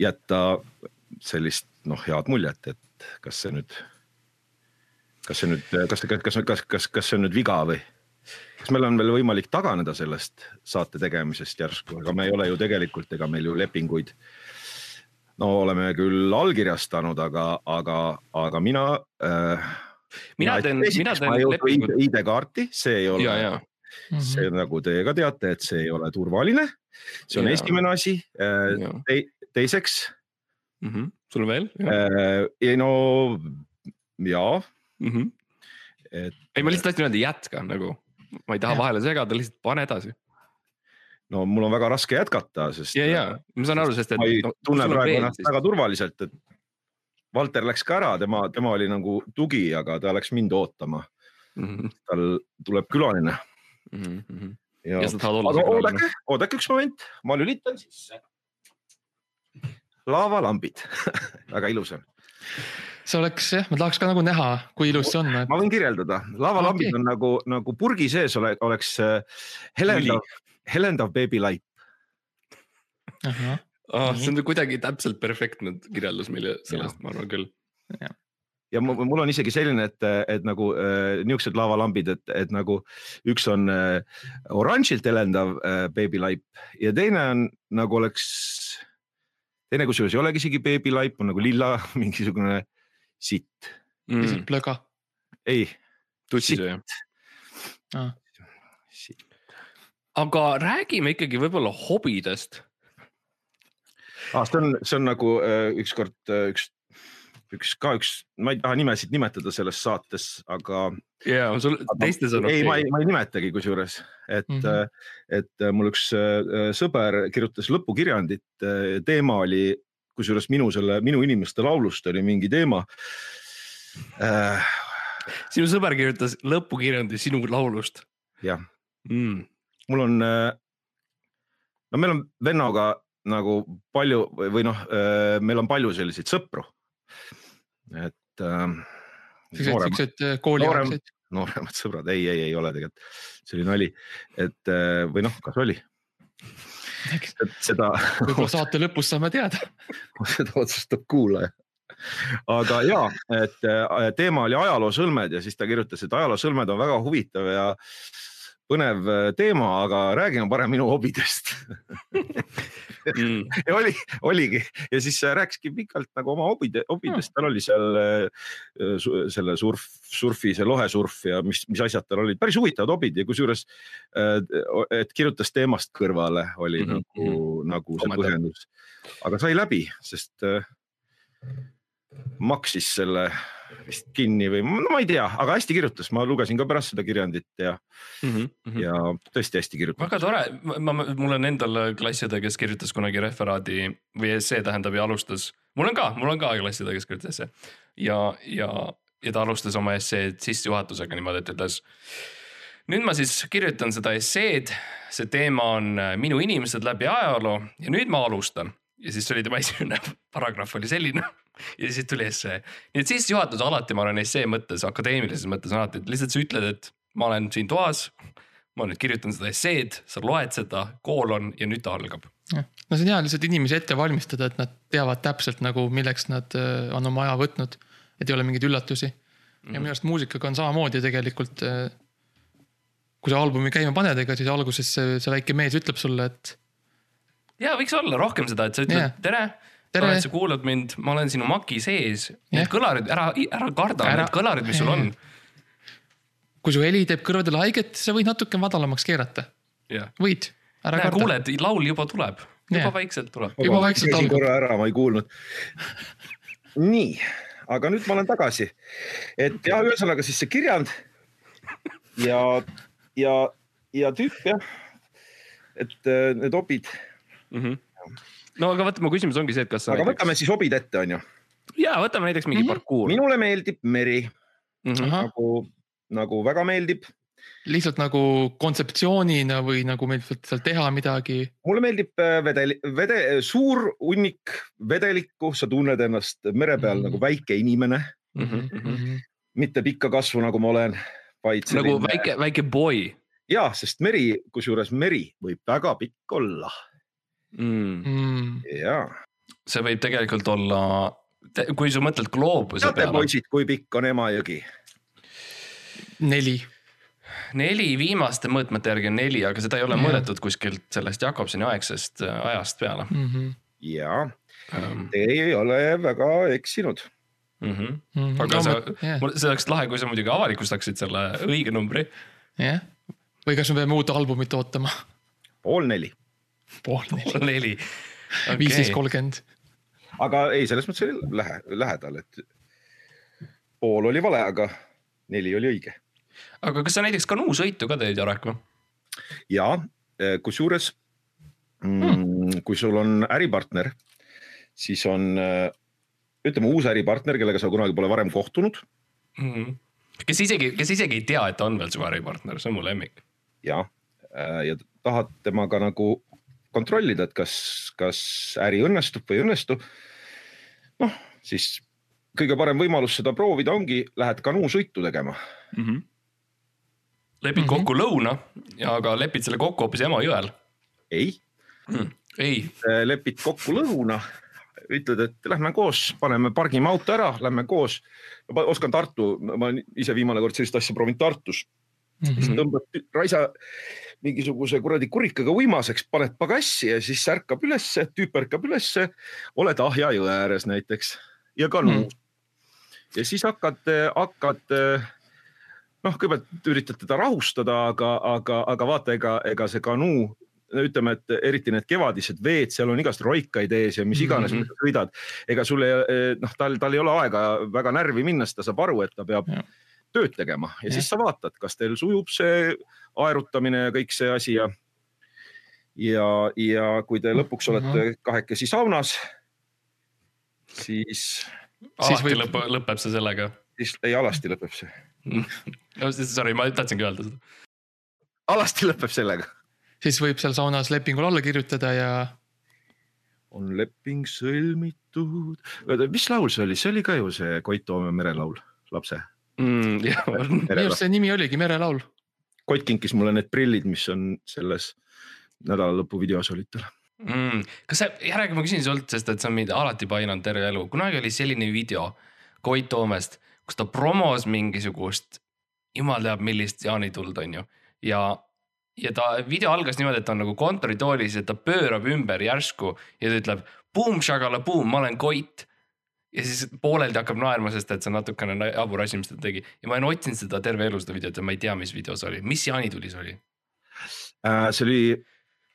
jätta sellist noh , head muljet , et kas see nüüd , kas see nüüd , kas , kas , kas , kas , kas see on nüüd viga või ? kas meil on veel võimalik taganeda sellest saate tegemisest järsku , aga me ei ole ju tegelikult , ega meil ju lepinguid . no oleme küll allkirjastanud , aga , aga , aga mina äh, .
mina teen , mina teen
lepingut
lepingut .
ID-kaarti , see ei ole
ja , ja ,
see nagu te ka teate , et see ei ole turvaline . see on
Jaa.
ja. esimene asi .
ja .
teiseks ,
Mhm. sul veel ?
ei no ja , et
Mhm. ei , ma lihtsalt tahtsin öelda , jätka nagu . ma ei taha
Jah.
vahele segada , lihtsalt pane edasi .
no mul on väga raske jätkata , sest
ja , ja ma saan aru , sest et .
ma ei tunne praegu ennast väga turvaliselt , et Valter läks ka ära , tema , tema oli nagu tugi , aga ta läks mind ootama ,
väga .
tal tuleb külaline
Mhm,
ja,
ja
ja
sa tahad olla
aga . oodake , oodake üks moment , ma lülitan sisse . laavalambid , *laughs* väga ilus on .
see oleks jah , ma tahaks ka nagu näha , kui ilus see on .
ma võin kirjeldada , laavalambid
Okei.
okay. on nagu , nagu purgi sees ole, oleks äh, helendav , helendav beebilaip . Mm.
Ah, see on kuidagi täpselt perfektne kirjeldus meile sellest , ma arvan küll .
ja mu- mul on isegi selline , et , et nagu äh, niisugused laavalambid , et , et nagu üks on äh, oranžilt helendav äh, beebilaip ja teine on nagu oleks , teine kusjuures ei olegi isegi beebilaip , on nagu lilla *laughs* mingisugune sitt ,
Mhm.
lihtsalt plöga .
ei ,
tussisööja .
sitt ,
aga räägime ikkagi võib-olla hobidest .
ah, . see on , see on nagu äh, ükskord äh, üks , üks ka üks , ma ei taha nimesid nimetada selles saates , aga
ja sul teistes on
ei , ma ei , ma ei nimetagi kusjuures , et mm ,
Mhm.
-hmm. et mul üks äh, sõber kirjutas lõpukirjandit , teema oli , kusjuures minu selle , minu inimeste laulust oli mingi teema . Äh,
sinu sõber kirjutas lõpukirjandi sinu laulust .
Jah.
mm. .
mul on , no meil on vennaga nagu palju või- või noh , meil on palju selliseid sõpru . et äh,
siuksed , äh,
noorem-
siuksed kooliaegsed .
nooremad sõbrad , ei , ei , ei ole tegelikult , see oli nali , et äh, või noh , kas oli , et seda
võib-olla saate lõpus saame teada .
*laughs* seda otsustab kuulaja . aga ja , et äh, teema oli ajaloosõlmed ja siis ta kirjutas , et ajaloosõlmed on väga huvitav ja põnev äh, teema , aga räägime parem minu hobidest . *laughs*
Mm.
ja oli , oligi ja siis rääkiski pikalt nagu oma hobide ,
Hmm.
hobidest , tal oli seal äh, su- selle surf , surfi , see lohesurf ja mis , mis asjad tal olid , päris huvitavad hobid ja kusjuures , et kirjutas teemast kõrvale , oli
Mhm,
mm -hmm. nagu , nagu see
Komeda.
põhjendus . aga sai läbi , sest äh, maksis selle vist kinni või no ma ei tea, aga hästi kirjutas, ma lugesin ka pärast seda kirjandit ja
mhm.
mm, -hmm. ja tõesti hästi kirjutas.
väga tore, ma, mul on endal klassiõde, kes kirjutas kunagi referaadi või essee tähendab ja alustas. mul on ka, mul on ka klassiõde, kes kirjutas essee ja, ja, ja ta alustas oma esseed sissejuhatusega niimoodi, et ütles nüüd ma siis kirjutan seda esseed, see teema on äh, minu inimesed läbi ajaloo ja nüüd ma alustan ja siis oli tema *laughs* esimene paragrahv oli selline *laughs* ja siis tuli essee. nii et sissejuhatus alati, ma arvan, essee mõttes, akadeemilises mõttes on alati, et lihtsalt sa ütled, et ma olen siin toas. ma nüüd kirjutan seda esseed, sa loed seda, koolon ja nüüd ta algab.
no see on hea lihtsalt inimesi ette valmistada, et nad teavad täpselt nagu, milleks nad on oma aja võtnud. et ei ole mingeid üllatusi. ja
Mhm.
minu arust muusikaga on samamoodi tegelikult. äh, kui sa albumi käima paned, ega siis alguses see, see väike mees ütleb sulle, et
ja võiks olla rohkem seda, et sa ütled yeah. tere, tere., tore, et sa kuulad mind, ma olen sinu maki sees yeah.. Need kõlarid, ära, ära karda ära... neid kõlarid, mis yeah. sul on.
kui su heli teeb kõrvadele haiget, sa võid natuke madalamaks keerata yeah.. võid, ära Näe, karda.
kuuled, laul juba tuleb yeah., juba vaikselt tuleb.
juba vaikselt
algab. korra ära, ma ei
*laughs*
kuulnud nii, aga nüüd ma olen tagasi. et okay. jah, ühesõnaga siis see kirjand ja, ja, ja tüüp jah, et äh, need opid
mm. -hmm. no aga vaata, mu küsimus ongi see, et kas.
aga näiteks... võtame siis hobid ette, onju.
ja võtame näiteks mingi mm -hmm. parkuur. Mhm.
minule meeldib meri mm, -hmm. nagu, nagu väga meeldib.
lihtsalt nagu kontseptsioonina või nagu meeldib seal teha midagi?
mulle meeldib vedel-, vede-, suur hunnik vedelikku, sa tunned ennast mere peal mm
Mhm.
-hmm. nagu väike inimene
Mhm.
mm. -hmm. mitte pikka kasvu, nagu ma olen, vaid.
nagu väike, väike boy
ja, sest meri, kusjuures meri võib väga pikk olla
mm..
Mm. jaa.
see võib tegelikult olla te,, kui sa mõtled gloobuse
peale. teate poisid, kui pikk on Emajõgi?
neli.
neli, viimaste mõõtmete järgi on neli, aga seda ei ole ja. mõõdetud kuskilt sellest Jakobsoni aegsest äh, ajast peale Ähm,
mm. -hmm.
jaa um., te ei ole väga eksinud.
Mm -hmm. Mm
mhm.
-hmm. aga no, sa yeah., see oleks lahe, kui sa muidugi avalikustaksid selle õige numbri.
jah yeah., või kas me peame uut albumit ootama?
pool neli
pool neli.
pool *laughs* neli.
viisteist kolmkümmend.
aga ei, selles mõttes oli lähe, lähedal, et pool oli vale, aga neli oli õige.
aga kas sa näiteks kanuusõitu ka teed, Jarek või?
ja, kusjuures hmm. kui sul on äripartner, siis on ütleme uus äripartner, kellega sa kunagi pole varem kohtunud
hmm.. kes isegi, kes isegi ei tea, et ta on veel su äripartner, see on mu lemmik.
ja, Äh, ja tahad temaga nagu kontrollida, et kas, kas äri õnnestub või ei õnnestu. noh, siis kõige parem võimalus seda proovida ongi, lähed kanuusõitu tegema
mm. -hmm. lepid mm -hmm. kokku lõuna, aga lepid selle kokku hoopis Emajõel.
ei
mm,. ei.
Äh, lepid kokku lõuna, ütled, et lähme koos, paneme, pargime auto ära, lähme koos. ma oskan Tartu, ma olen ise viimane kord sellist asja proovinud Tartus mm. -hmm. siis tõmbad raisa mingisuguse kuradi kurikaga uimaseks, paned pagassi ja siis ärkab ülesse, tüüp ärkab ülesse, oled Ahja jõe ääres näiteks ja kanuus mm.. ja siis hakkad, hakkad noh, kõigepealt üritad teda rahustada, aga, aga, aga vaata, ega, ega see kanuu, ütleme, et eriti need kevadised veed, seal on igast roikaid ees ja mis iganes mm -hmm. sõidad, ega sul ei noh, tal, tal ei ole aega väga närvi minna, sest ta saab aru, et ta peab ja tööd tegema ja, ja siis sa vaatad, kas teil sujub see aerutamine ja kõik see asi ja. ja, ja kui te lõpuks olete kahekesi saunas, siis.
siis või lõpp, lõpeb see sellega?
siis ei, alasti lõpeb see
no sorry, ma tahtsingi öelda seda.
alasti lõpeb sellega.
siis võib seal saunas lepingul alla kirjutada ja.
on leping sõlmitud. mis laul see oli, see oli ka ju see Koit Toome merelaul, lapse
mm,. *laughs* minu
arust see nimi oligi Merelaul.
Koit kinkis mulle need prillid, mis on selles nädalalõpu videos olid tal
mm,. kas sa, Jarek, ma küsin sult, sest et sa mind alati painanud terve elu, kunagi oli selline video Koit Toomest, kus ta promos mingisugust jumal teab millist jaanituld, on ju, ja ja ta video algas niimoodi, et ta on nagu kontoritoolis ja ta pöörab ümber järsku ja ta ütleb, boom, shagala, boom, ma olen Koit ja siis pooleldi hakkab naerma, sest et see on natukene jabur asi, mis ta tegi ja ma olen otsinud seda terve elu seda videot ja ma ei tea, mis video see oli, mis jaanitulis oli
äh,? see oli,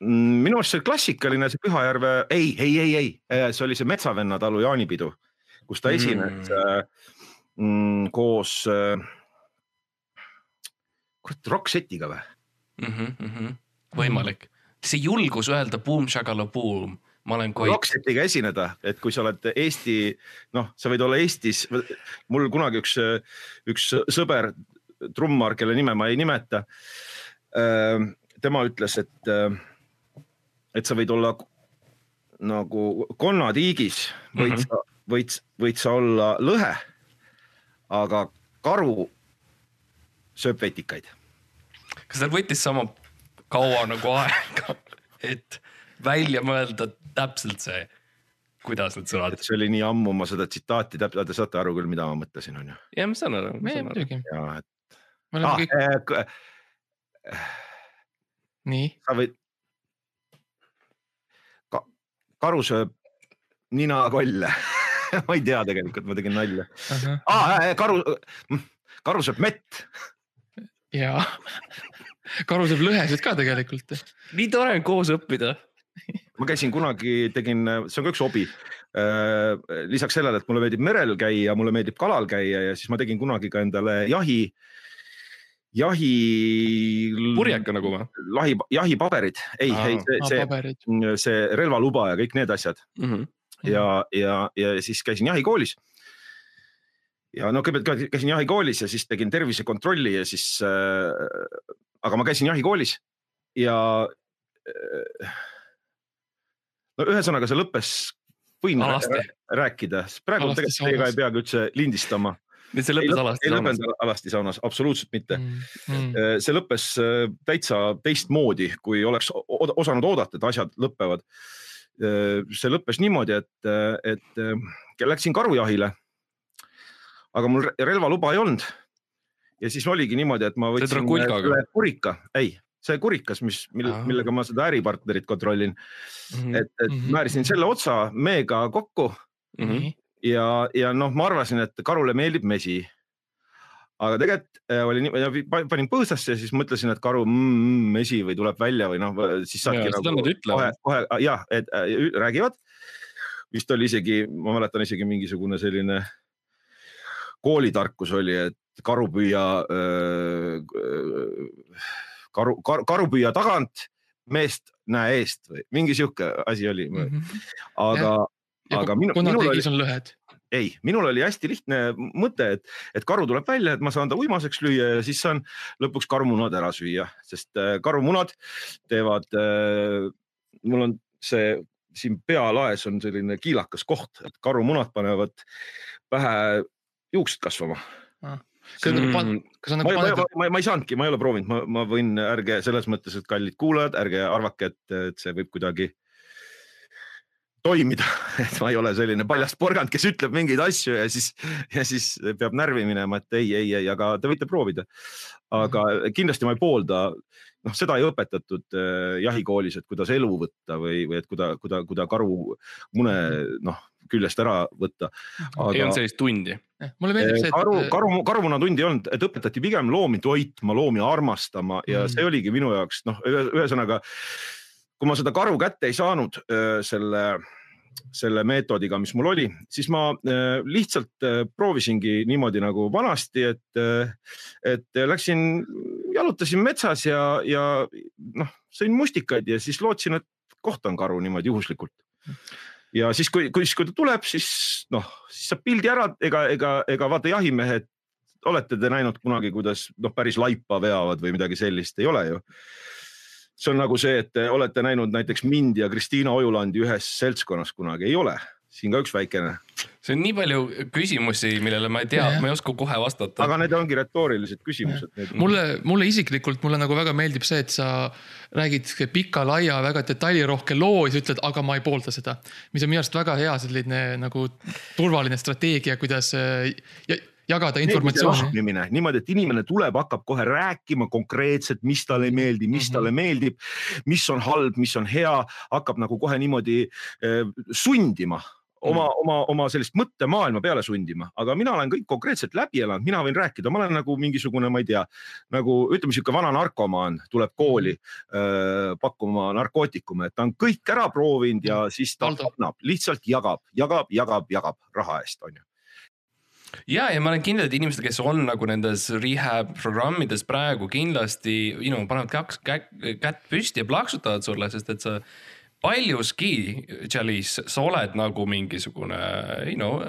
mm, minu arust see oli klassikaline, see Pühajärve, äh, ei, ei, ei, ei, see oli see Metsavenna talu jaanipidu, kus ta esines mm. mm, koos äh,, kurat Rocksetiga või?
mm . -hmm. võimalik , see julgus öelda Boom Shagala Boom , ma olen koit .
Rocksetiga esineda , et kui sa oled Eesti , noh , sa võid olla Eestis , mul kunagi üks , üks sõber , trummar , kelle nime ma ei nimeta . tema ütles , et , et sa võid olla nagu konnatiigis , võid mm -hmm. sa , võid , võid sa olla lõhe , aga karu sööb vetikaid .
kas tal võttis sama kaua nagu aega , *laughs* et välja mõelda täpselt see , kuidas need sõnad
et . see oli nii ammu , ma seda tsitaati täpselt , te saate aru küll , mida ma mõtlesin , on ju .
jah , ma saan aru , ma
me
saan aru .
muidugi ,
ja et
me
ah,
oleme kõik ,
äh,
nii ,
sa võid Ka, . karu sööb ninakolle . *laughs* ma ei tea tegelikult , ma tegin nalja
ahah ,
ah, . karu , karu sööb mett .
jaa . karu saab lõhesid ka tegelikult .
nii tore on koos õppida .
ma käisin kunagi , tegin , see on ka üks hobi . lisaks sellele , et mulle meeldib merel käia , mulle meeldib kalal käia ja siis ma tegin kunagi ka endale jahi , jahi . Mm.
purjeka nagu või
lahi , jahipaberid , ei ,
Aa.
ei , see , see ,
paberid ,
see relvaluba ja kõik need asjad .
mm ? -hmm.
ja , ja , ja siis käisin jahikoolis . ja no kõigepealt kä- käisin jahikoolis ja siis tegin tervisekontrolli ja siis äh, , aga ma käisin jahikoolis ja äh, . no ühesõnaga , see lõppes , võin rää-
alasti ,
rääkida , praegu
Alasti
tegelikult teiega
saunas.
ei peagi üldse lindistama .
nüüd see
ei
lõppes
lõpp- ei
alasti saunas .
lõppenud alasti saunas , absoluutselt mitte .
Mm.
Mhm.
mitte .
see lõppes äh, täitsa teistmoodi , kui oleks o- o- osanud oodata , et asjad lõpevad . see lõppes niimoodi , et , et äh, läksin karujahile . aga mul re- relvaluba ei olnud . ja siis oligi niimoodi , et ma võtsin äh,
trakulkaga?
selle kurika , ei , see kurikas , mis ,
Aa. Mm.
millega ma seda äripartnerit kontrollin ,
Mm-hmm.
et , et
Mhm.
määrisin selle otsa meega kokku Mhm.
Mm-hmm.
nii ,
ja , ja noh , ma arvasin , et karule meeldib mesi . aga tegelikult äh, oli nii , panin põõsasse ja siis mõtlesin , et karu mm, mm, mesi või tuleb välja või noh , siis saadki nagu
Jaa, seda nad
kohe
ütlevad. ,
kohe jah , et äh, ü- räägivad . vist oli isegi , ma mäletan isegi mingisugune selline koolitarkus oli , et karu püüa äh, , karu, karu , karu püüa tagant , meest näe eest või mingi sihuke asi oli ,
Mhm.
Mhm.
aga , aga minu , minul oli
konnateigis on lõhed ,
ei , minul oli hästi lihtne mõte , et , et karu tuleb välja , et ma saan ta uimaseks lüüa ja siis saan lõpuks karumunad ära süüa , sest äh, karumunad teevad , mul on see siin pealaes on selline kiilakas koht , et karumunad panevad pähe juuksed kasvama .
kas on nagu , kas on
Mm. ma ,
nagu
ma, ma,
pandud ,
ma, ma ei saanudki , ma ei ole proovinud , ma , ma võin , ärge selles mõttes , et kallid kuulajad , ärge arvake , et , et see võib kuidagi toimida , *laughs* et ma ei ole selline paljast porgand , kes ütleb mingeid asju ja siis , ja siis peab närvi minema , et ei , ei , ei , aga te võite proovida . aga kindlasti ma ei poolda , noh , seda ei õpetatud äh, jahikoolis , et kuidas elu võtta või , või et kuida- , kuida- , kuida karu mune , noh , küljest ära võtta .
ei olnud sellist tundi .
mulle meeldib see ,
karu ,
et äh,
karu , karumunatundi ei olnud , et õpetati pigem loomi toitma , loomi armastama ja
Mm.
mm. see oligi minu jaoks noh , ühesõnaga kui ma seda karu kätte ei saanud öö, selle , selle meetodiga , mis mul oli , siis ma öö, lihtsalt öö, proovisingi niimoodi nagu vanasti , et , et läksin , jalutasin metsas ja , ja noh , sõin mustikaid ja siis lootsin , et kohtan karu niimoodi juhuslikult ja siis , kui , kui , siis kui ta tuleb , siis noh , siis saab pildi ära , ega , ega , ega vaata jahimehed , olete te näinud kunagi , kuidas noh , päris laipa veavad või midagi sellist , ei ole ju . see on nagu see , et te olete näinud näiteks mind ja Kristiina Ojulandi ühes seltskonnas kunagi , ei ole , siin ka üks väikene ,
see on nii palju küsimusi , millele ma ei tea
Jah. ,
ma ei oska kohe vastata .
aga need ongi retoorilised küsimused .
Mhm. mulle , mulle isiklikult , mulle nagu väga meeldib see , et sa räägid pika-laia väga detailirohke loo ja siis ütled , aga ma ei poolda seda . mis on minu arust väga hea selline nagu turvaline strateegia , kuidas äh, ja- jagada informatsiooni .
lahmimine niimoodi , et inimene tuleb , hakkab kohe rääkima konkreetselt , mis talle ei meeldi , mis
Mhm.
talle meeldib , mis on halb , mis on hea , hakkab nagu kohe niimoodi eh, sundima oma ,
Mhm.
oma , oma sellist mõttemaailma peale sundima , aga mina olen kõik konkreetselt läbi elanud , mina võin rääkida , ma olen nagu mingisugune , ma ei tea , nagu ütleme , sihuke vana narkomaan tuleb kooli
Mhm.
öö, pakkuma narkootikume , et ta on kõik ära
Mhm.
proovinud ja siis ta
Valdo.
annab , lihtsalt jagab , jagab , jagab , jagab raha eest , onju .
ja , ja ma olen kindel , et inimesed , kes on nagu nendes rehab programmides praegu kindlasti , you know , panevad kaks kätt , kätt püsti ja plaksutavad sulle , sest et sa paljuski , Jalis , sa oled nagu mingisugune , you know ,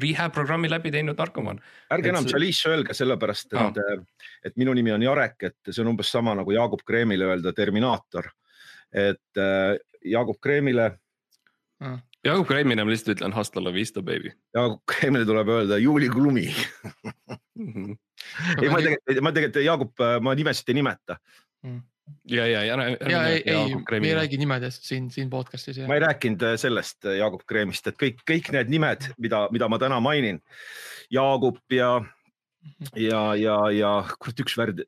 rehab programmi läbi teinud narkomaan .
ärge enam Jalice öelge , sellepärast et , et minu nimi on Jarek , et see on umbes sama nagu Jaagup Kreemile öelda Terminaator . et äh, Jaagup Kreemile ,
Jaagup Kreemile ma lihtsalt ütlen hasta la vista , baby .
Jaagup Kreemile tuleb öelda juuliklumi . *laughs* ei , ma tegelikult , ma tegelikult Jaagup , ma nimesid ei nimeta ,
ja , ja , ja .
ja Mm. ei , ei , me ei räägi nimedest siin , siin podcast'is ja
ma ei rääkinud äh, sellest Jaagup Kreemist , et kõik , kõik need nimed , mida , mida ma täna mainin , Jaagup ja , ja , ja , ja kurat , üks värd ,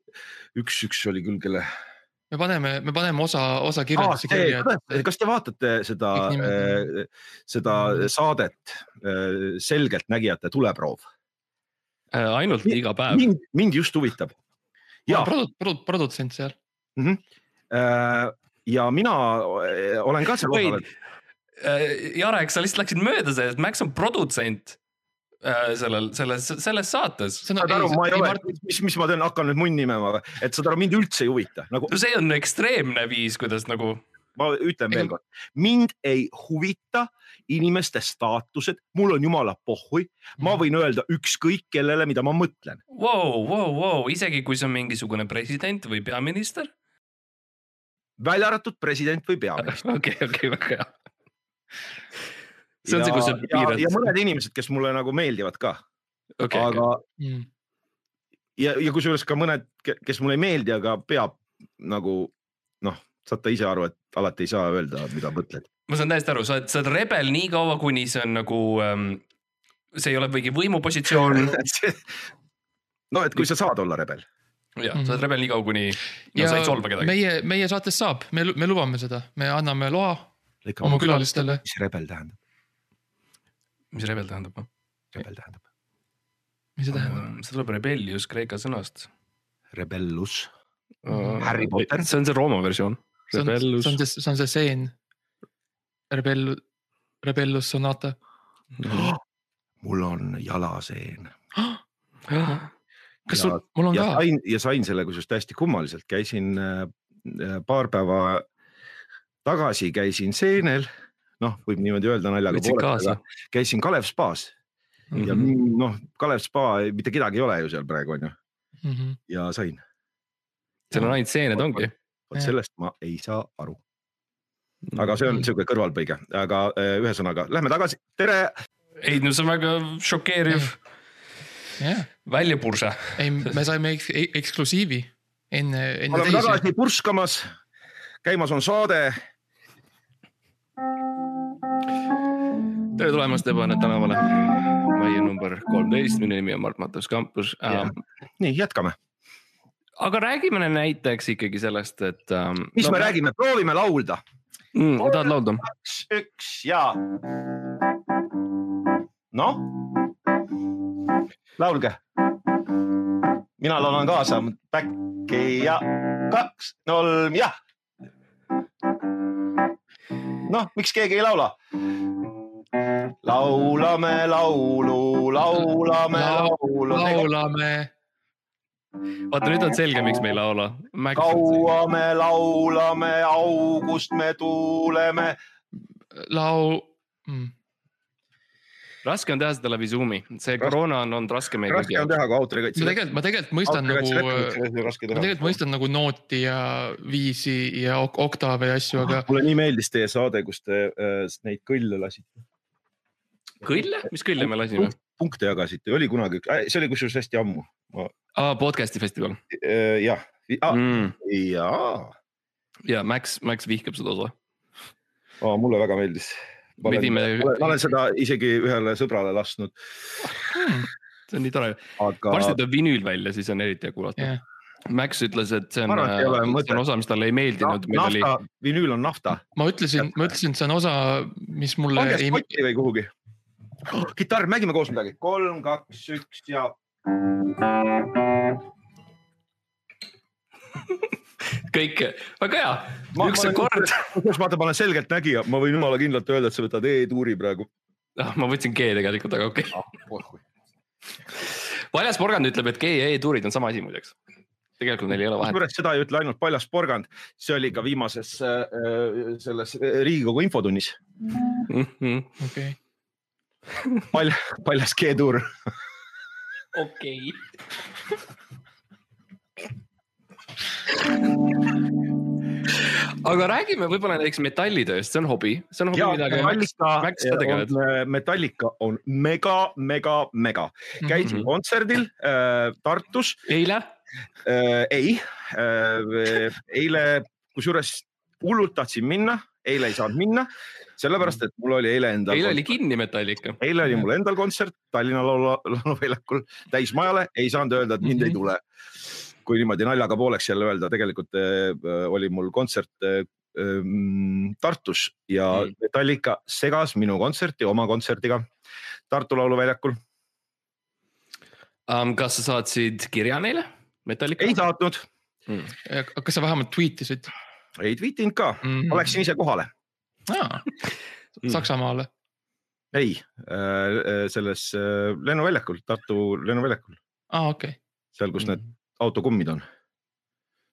üks , üks oli küll , kelle
me paneme , me paneme osa , osa
Aa,
kirjeldusse
Ah, see,
kirja .
kas- kas te vaatate seda eh,
Kõik , nimed.
seda saadet eh, Selgeltnägijate tuleproov ?
Äh, ainult iga päev .
mind , mind just huvitab . ja ,
produt- , produt- , produtsent seal .
ja mina eh, olen ka seal
Wait.
kohal ,
Jarek , Äh, sa lihtsalt läksid mööda sellest , Max on produtsent äh, sellel , selles , selles saates .
saad aru , ma ei ole , mis , mis ma teen , hakkan nüüd munn nimema , et saad aru , mind üldse ei huvita , nagu
no see on ekstreemne viis , kuidas nagu
ma ütlen
Ega-
veel kord , mind ei huvita inimeste staatused , mul on jumala pohhui , ma
Mhm.
võin öelda ükskõik kellele , mida ma mõtlen .
wow, , wow, wow. isegi kui see on mingisugune president või peaminister .
välja arvatud president või
*laughs*
peaminister .
okei , okei , väga hea . see on see , kus sa
ja, ja
piirad .
mõned inimesed , kes mulle nagu meeldivad ka okay, ,
okei ,
aga
Mm.
ja , ja kusjuures ka mõned , kes mulle ei meeldi , aga peab nagu noh , saate ise aru , et alati ei saa öelda , mida
*laughs*
mõtled .
ma saan täiesti aru , sa oled , sa oled rebel nii kaua , kuni see on nagu ähm, , see ei ole mingi võimupositsioon .
*laughs* no et kui sa saad olla rebel ,
jah , sa oled rebel nii kaua , kuni no, sa ei solva kedagi .
meie , meie saates saab , me , me lubame seda , me anname loa
lõika
oma
oma küla ,
külalistele .
mis rebel tähendab ,
mis rebel tähendab ?
rebel tähendab
mis see tähendab ?
see tuleb rebellius kreeka sõnast .
rebellus , Harry Potter.
see on see Rooma versioon .
see on ,
rebellus
see *gasps* on . see , see on see seen . Rebell , Rebellus sonata .
Noh.
mul on jalaseen .
kas
Ja-
sul , mul on
ja
ka ,
sain ja sain selle kusjuures täiesti kummaliselt , käisin äh, paar päeva tagasi käisin seenel , noh , võib niimoodi öelda naljaga
võtsid
pooleks ,
kaasa
aga . käisin Kalev spaas ja
Mhm.
mm, noh , Kalev spa , mitte kedagi ei ole ju seal praegu on ju
Mhm.
ja sain ,
seal on ainult seened ongi .
vot
Jah.
sellest ma ei saa aru , aga see on sihuke kõrvalpõige , aga äh, ühesõnaga lähme tagasi , tere ,
ei no see on väga šokeeriv
jah .
väljapurse .
*laughs*
ei , me saime eks- e- eksklusiivi enne , enne
oleme
teisi .
tagasi purskamas . käimas on saade ,
tere tulemast Ebaõnne tänavale . majja number kolmteist , minu nimi on Mart Matus Kampus
Jah.
ähm, .
nii jätkame ,
aga räägime näiteks ikkagi sellest , et ähm, .
mis no, me räägime , proovime laulda ,
mm, ? tahad laulda ?
üks , üks ja . noh , laulge . mina laulan kaasa , päkki ja kaks , kolm ja . noh , miks keegi ei laula ? laulame laulu , laulame laulu ,
laulame ,
vaata , nüüd on selge , miks me ei laula .
kaua me laulame , august me tuuleme .
lau- . mm.
raske on teha seda läbi Zoomi , see koroona on olnud raske meie kõigi
raske on
jaoks .
teha , aga autorikaitse
ma . tegelikult , ma tegelikult mõistan nagu ma tegelikult . mõistan nagu nooti ja viisi ja ok- oktaave ja asju , aga
mulle nii meeldis teie saade , kus te äh, neid kõlle lasite ,
kõlle , mis kõlle me lasime ?
punkte jagasite , oli kunagi , see oli kusjuures hästi ammu .
aa , podcast'i festival
jah ,
mm. .
jaa ,
ja Max , Max vihkab seda osa .
mulle väga meeldis . ma olen-
pidime ,
ma olen seda isegi ühele sõbrale lasknud ,
see on nii tore ,
aga
varsti tuleb vinüül välja , siis on eriti hea kuulata
Jah.
yeah. . Max ütles , et see on ,
Ma arvan, et ei ole
see
mõtet.
on osa , mis talle ei
na-
meeldinud , meil oli
nafta , vinüül on nafta ,
ma ütlesin , ma ütlesin , et see on osa , mis mulle
pange
ei ,
spotti või kuhugi . kitarr , mängime koos midagi , kolm , kaks , üks ja .
kõik , väga hea , üks kord ,
kus vaata , ma olen selgeltnägija , ma
Ah,
võin jumala kindlalt öelda , et sa võtad E-tuuri praegu .
ma võtsin G tegelikult , aga okei okay. . paljas porgand ütleb, et G ja E tuurid on sama asi muideks. tegelikult neil ei ole vahet .
kusjuures seda ei ütle ainult Paljas porgand , see oli ka viimases äh, äh, selles Riigikogu infotunnis .
Mhm.
okei .
Pal- , *laughs* Paljas G-tuur .
okei .
aga räägime võib-olla näiteks metallitööst , see on hobi , see on hobi , millega Max , Max ka tegelevad .
äh, Metallica on mega , mega , mega . käisin mm
Mhm.
-hmm. kontserdil äh, Tartus
eile
äh, , ei äh, , eile , kusjuures hullult tahtsin minna , eile ei saanud minna , sellepärast et mul oli eile endal .
Mhm. eile oli kinni Metallica .
eile oli mul endal kontsert Tallinna Laulu , lauluväljakul täismajale , ei saanud öelda , et mind mm -hmm. ei
Mhm.
tule . kui niimoodi naljaga pooleks jälle öelda , tegelikult äh, oli mul kontsert äh, ähm, Tartus ja
Mhm.
Metallica segas minu kontserti oma kontserdiga Tartu lauluväljakul .
um, . kas sa saatsid kirja neile , Metallica ?
ei saatnud ,
kas sa vähemalt tweetisid
ei tweetinud ka ,
mm.
ma läksin ise kohale . *laughs*
ah, ?
Mm.
Saksamaale ,
ei äh, , selles äh, lennuväljakul , Tartu lennuväljakul ,
aa okei ,
seal , kus need autokummid on .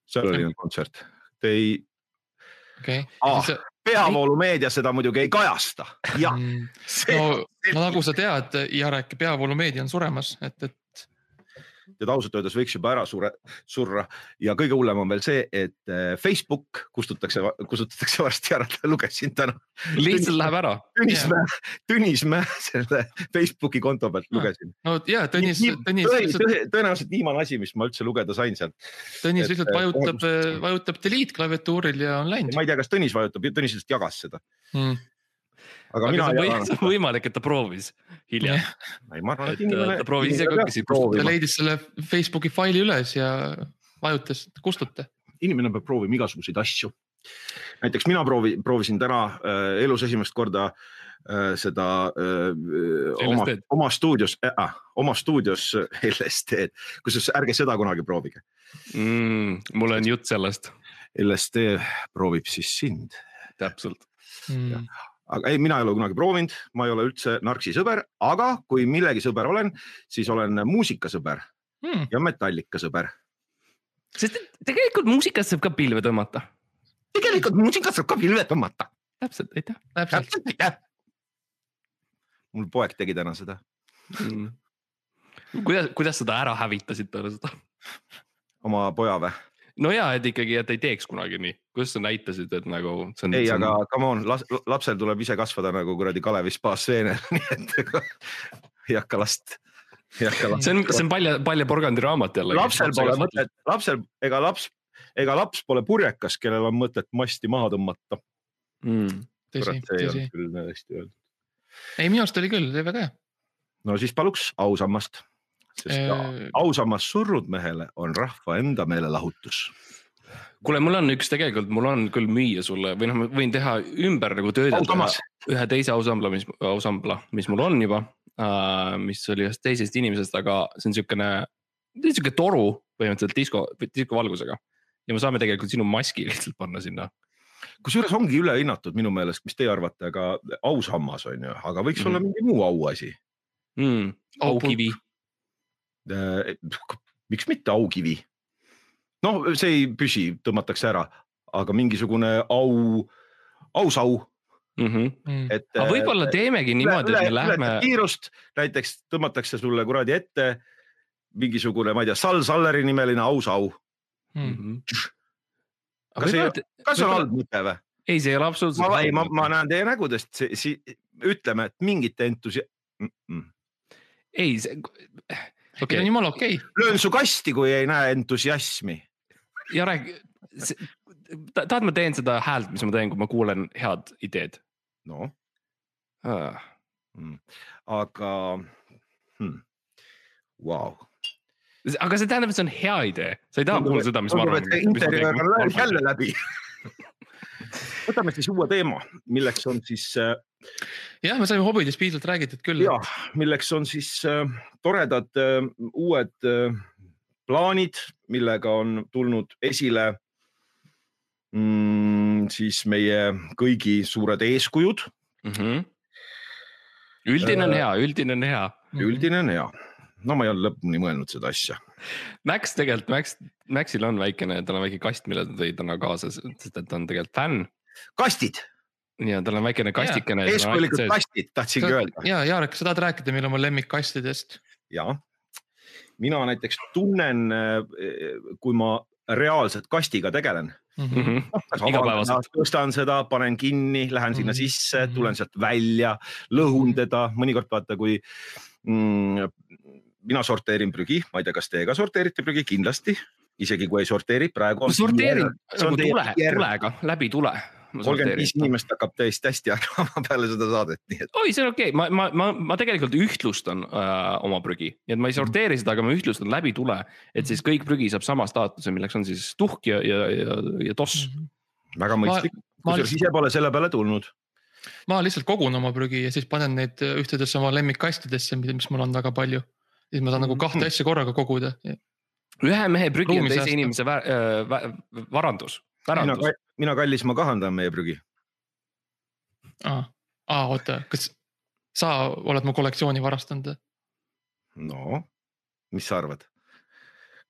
seal oli nüüd kontsert , te ei ,
okei .
Aa. peavoolumeedia seda muidugi ei kajasta . jah , see
Mm. no , no nagu sa tead , Jarek , peavoolumeedia on suremas , et , et
teda ausalt öeldes võiks juba ära sure , surra ja kõige hullem on veel see , et eh, Facebook kustutakse , kustutatakse varsti ära , lugesin täna .
lihtsalt läheb ära .
Tõnismäe , Tõnismäe selle Facebooki konto pealt lugesin .
no ja Ah, Tõnis , Tõnis lihtsalt ,
tõenäoliselt viimane asi , mis ma üldse lugeda sain sealt .
Tõnis lihtsalt
et- äh,
vajutab , äh, vajutab delete klaviatuuril ja on läinud
ma ei tea , kas Tõnis vajutab , Tõnis lihtsalt jagas seda ,
mm. .
aga
aga
mina
see
ei
on või- see
jaganud
on . võimalik , et ta proovis hiljem .
ei , ma arvan ,
et,
et
äh,
inimene .
ta proovis ise ka küsida.
ta
proovima ,
leidis selle Facebooki faili üles ja vajutas kustuta .
inimene peab proovima igasuguseid asju . näiteks mina proovi , proovisin täna äh, elus esimest korda äh, seda äh, oma
LSD-d. ,
oma stuudios äh, , oma stuudios äh, LSD-d , kusjuures ärge seda kunagi proovige .
Mm, mul on jutt sellest ,
LSD proovib siis sind ,
täpselt .
Mm.
aga ei , mina ei ole kunagi proovinud , ma ei ole üldse narksi sõber , aga kui millegi sõber olen , siis olen muusikasõber
Mm.
ja metallikasõber .
sest et tegelikult muusikast saab ka pilve tõmmata .
tegelikult muusikat saab ka pilve tõmmata .
täpselt , aitäh
täpselt ,
täpselt aitäh . mul poeg tegi täna seda .
mm. . kuidas , kuidas seda ära hävitasid peale seda ?
oma poja või ?
no ja , et ikkagi , et ei teeks kunagi nii , kuidas sa näitasid , et nagu see on .
ei , aga come on , lapsel tuleb ise kasvada nagu kuradi Kalevi spaas seenel , *laughs* nii et ega ei hakka last , ei hakka last .
see on , see on palja , palja porgandi raamat jälle .
lapsel pole . mõtet , lapsel , ega laps , ega laps pole purjekas , kellel on mõtet masti maha tõmmata .
Mm.
tõsi ,
see ei
tõsi .
olnud küll hästi öeldud .
ei , minu arust oli küll , oli väga hea .
no siis paluks ausammast , sest
Äh.
ausammas surnud mehele on rahva enda meelelahutus .
kuule , mul on üks tegelikult , mul on küll müüa sulle või noh , ma võin teha ümber nagu töödelda
ausammas ,
ühe teise ausambla , mis , ausambla , mis mul on juba uh, . mis oli ühest teisest inimesest , aga see on siukene , siuke toru põhimõtteliselt disko , diskovalgusega . ja me saame tegelikult sinu maski *laughs* lihtsalt panna sinna .
kusjuures ongi ülehinnatud minu meelest , mis teie arvate , aga ausammas on ju , aga võiks olla
Mhm.
mingi muu auasi . Hmm.
Mm,
Oh,
aukivi ,
Äh, miks mitte aukivi ? noh , see ei püsi , tõmmatakse ära , aga mingisugune au , ausau ,
mm -hmm.
Mm.
et . äh,
aga võib-olla teemegi niimoodi , et me lähme ,
kiirust , näiteks tõmmatakse sulle kuradi ette mingisugune , ma ei tea , Sal Salleri nimeline ausau .
Mm.
Kas ei-
Mhm. võib-olla ,
kas see on
Võib-olla-
halb mõte või ?
ei , see ei ole absoluutselt .
ma , ei , ma , ma näen teie nägudest , ütleme , et mingit entusi- mm . -mm.
ei , see ,
see
okei
on , jumala okei okay. ,
löön su kasti , kui ei näe entusiasmi .
Jarek , tahad , ma teen seda häält , mis ma teen , kui ma kuulen head ideed
noh ,
ah. ?
aga hmm. , vau .
aga see tähendab , et see on hea idee , sa ei taha kuulda seda , mis ma
intervjuud on jälle
arvan .
läbi . võtame siis uue teema , milleks on siis äh,
jah , me saime hobidest piisavalt räägitud küll .
ja milleks on siis äh, toredad äh, uued äh, plaanid , millega on tulnud esile mm, siis meie kõigi suured eeskujud .
Mhm.
Äh.
üldine on hea , üldine on hea .
Mm.
Mhm.
üldine on hea . no ma ei ole lõpuni mõelnud seda asja.
Max tegelikult, Max, Maxil on väikene, tal on väike kast, mille ta tõi täna kaasa, sest et ta on tegelikult fänn
kastid,
ja tal on väikene kastikene .
eeskujulikud kastid tahtsingi öelda .
ja Jarek , kas sa tahad rääkida meile oma lemmikkastidest ?
ja mina näiteks tunnen , kui ma reaalselt kastiga tegelen .
Mhm.
Mhm. Igapäevaselt.
tõstan seda , panen kinni , lähen sinna
Mhm.
sisse , tulen sealt välja , lõhun teda , mõnikord vaata , kui mm, mina sorteerin prügi , ma ei tea , kas teie ka sorteerite prügi , kindlasti , isegi kui ei sorteeri , praegu .
ma sorteerin
see on
nagu
teie
tule ,
PR.
tulega , läbi tule .
kolmkümmend viis inimest hakkab täiesti hästi hakkama *laughs* peale seda saadet , nii et
oi , see on okei okay. , ma , ma , ma , ma tegelikult ühtlustan äh, oma prügi , nii et ma ei sorteeri seda , aga ma ühtlustan läbi tule . et siis kõik prügi saab sama staatuse , milleks on siis tuhk ja , ja , ja , ja toss .
väga mõistlik .
Mhm. ma
kusjuures
lihtsalt-
ise pole selle peale tulnud .
ma lihtsalt kogun oma prügi ja siis panen neid ühtedesse oma lemmikkastidesse , mis mul on väga palju . siis ma saan
Mhm.
nagu kahte asja korraga koguda .
Mm.
ühe mehe prügi on
Ruumi
teise
säästa.
inimese vä- äh, vä- varandus ,
mina
pärandus .,
mina kallis , ma kahandan meie prügi .
aa , oota , kas sa oled mu kollektsiooni varastanud ?
no , mis sa arvad ?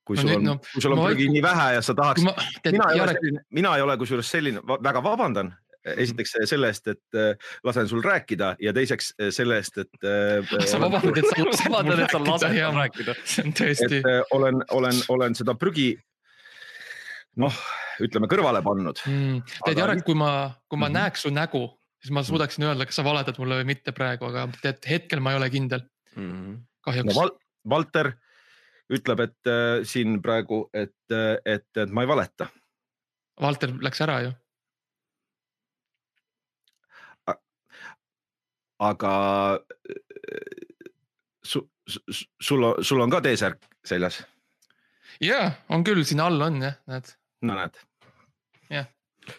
kui
No
sul
nüüd,
on
no, ,
kui sul on
ma
prügi
vaiku-
nii vähe ja sa tahaks
kui , ma , tead
mina , ei ole
Jarek ,
selline , mina ei ole kusjuures selline , väga vabandan e-, esiteks selle eest , et eh, lasen sul rääkida ja teiseks eh, selle eest , et .
*laughs*
e,
sa vabandad , et sa
*laughs*
lasid mul
vaatan , et sa
rääkida,
lased
jaa.
tal rääkida .
see on
et
tõesti .
eh, olen , olen , olen seda prügi noh , ütleme kõrvale pannud .
Mm. tead ,
Aga
Jarek , kui ma , kui ma mm
Mhm.
-hmm. näeks su nägu , siis ma suudaksin öelda , kas sa valetad mulle või mitte praegu , aga tead hetkel ma ei ole kindel ,
Mm.
kahjuks
no
no, .
Val- , Valter ütleb , et eh, siin praegu , et , et , et ma ei valeta .
Valter läks ära ju ,
aga eh, su, su, sul , sul on ka T-särk seljas ,
jaa , on küll , siin all on jah , näed .
no näed .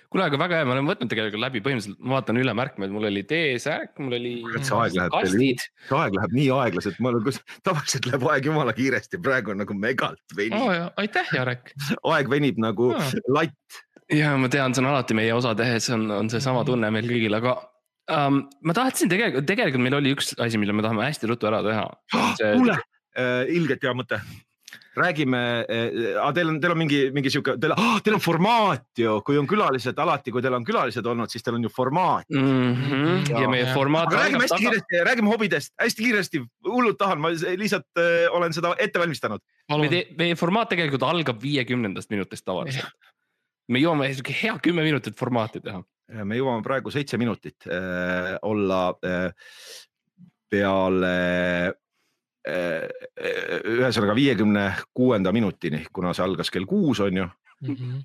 kuule , aga väga hea , ma olen võtnud tegelikult läbi , põhimõtteliselt ma vaatan üle märkmed , mul oli T-särk , mul oli
et see aeg läheb teil
kastid .
see aeg läheb nii aeglaselt , ma olen , kus *laughs* tavaliselt läheb aeg jumala kiiresti , praegu on nagu megalt venib
oo , jaa , aitäh , Jarek .
aeg venib nagu
Aa.
latt .
ja ma tean , see on alati meie osa tehes on , on
Mm.
seesama tunne meil kõigil , aga um, ma tahtsin tegelikult , tegelikult meil oli üks asi , mille me tahame hästi ruttu ära teha . See-
Ah, kuule , ilgelt hea mõte . räägime , teil on , teil on mingi , mingi sihuke , teil , teil on formaat ju , kui on külalised alati , kui teil on külalised olnud , siis teil on ju formaat .
Mm -hmm. ja meie
Jaa.
formaat
aga
algab
räägime hästi
taga ,
kiiresti , räägime hobidest hästi kiiresti , hullult tahan , ma se- lihtsalt eh, olen seda ette valmistanud .
palun ,
meie formaat tegelikult algab viiekümnendast minutist tavaliselt . me jõuame sihuke hea kümme minutit formaati teha .
Äh, me jõuame praegu seitse minutit äh, olla äh, peale äh, ühesõnaga viiekümne kuuenda minutini , kuna see algas kell kuus , on ju mm .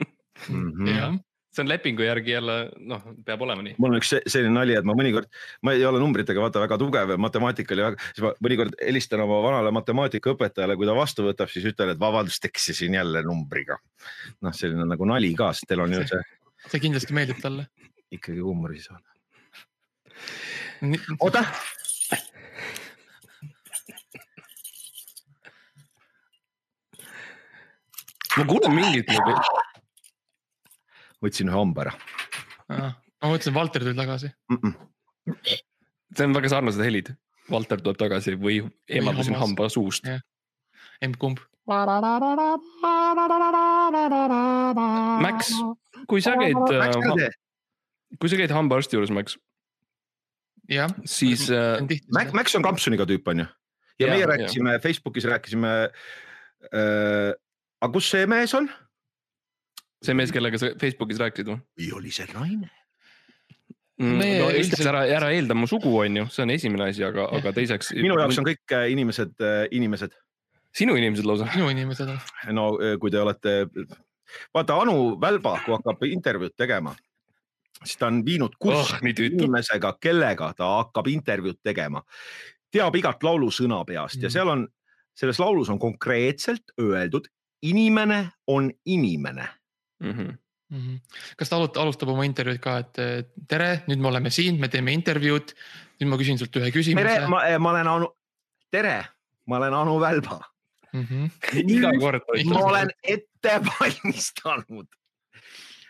-hmm.
jah ,
see on lepingu järgi jälle noh , peab olema nii .
mul on üks se- selline nali , et ma mõnikord , ma ei ole numbritega vaata väga tugev ja matemaatikal ja väga- siis ma mõnikord helistan oma vanale matemaatikaõpetajale , kui ta vastu võtab , siis ütlen , et vabandust , eksisin jälle numbriga . noh , selline nagu nali ka , sest teil on ju see
see kindlasti meeldib talle .
ikkagi huumorisaade . oota ,
ma kuulen mingit .
võtsin ühe hamba ära
ma mõtlesin , Valter tuli tagasi .
mm . -mm.
see on väga sarnased helid . Valter tuleb tagasi või eemaldasin
hammas.
hamba suust .
emb-kumb .
Max , kui sa käid ,
Max ,
kui sa käid hambaarsti juures , Max ,
jah ,
siis äh,
Max , Max on kampsuniga tüüp on ju ja, ja
Jaa,
meie
jaa.
rääkisime Facebookis rääkisime äh, . aga kus see mees on ?
see mees , kellega sa Facebookis rääkisid või ?
või oli see naine ?
Mm,
Meie
no esiteks
üldiselt-
ära , ära eelda mu sugu , on ju , see on esimene asi , aga , aga teiseks .
minu jaoks on kõik äh, inimesed äh, inimesed .
sinu inimesed lausa .
minu inimesed on ,
no äh, kui te olete , vaata Anu Välba , kui hakkab intervjuud tegema , siis ta on viinud
oh
kurssi ,
nii tüütu .
inimesega , kellega ta hakkab intervjuud tegema . teab igat laulu sõna peast
Mhm.
ja
Mm.
seal on , selles laulus on konkreetselt öeldud , inimene on inimene .
Mhm.
mm . -hmm. kas ta alut- alustab oma intervjuud ka , et eh, tere , nüüd me oleme siin , me teeme intervjuud . nüüd ma küsin sult ühe
tere
küsimuse ,.
ma , ma olen Anu , tere , ma olen Anu Välba .
Mm -hmm.
iga kord on
Ikka.
ma olen ette valmistanud .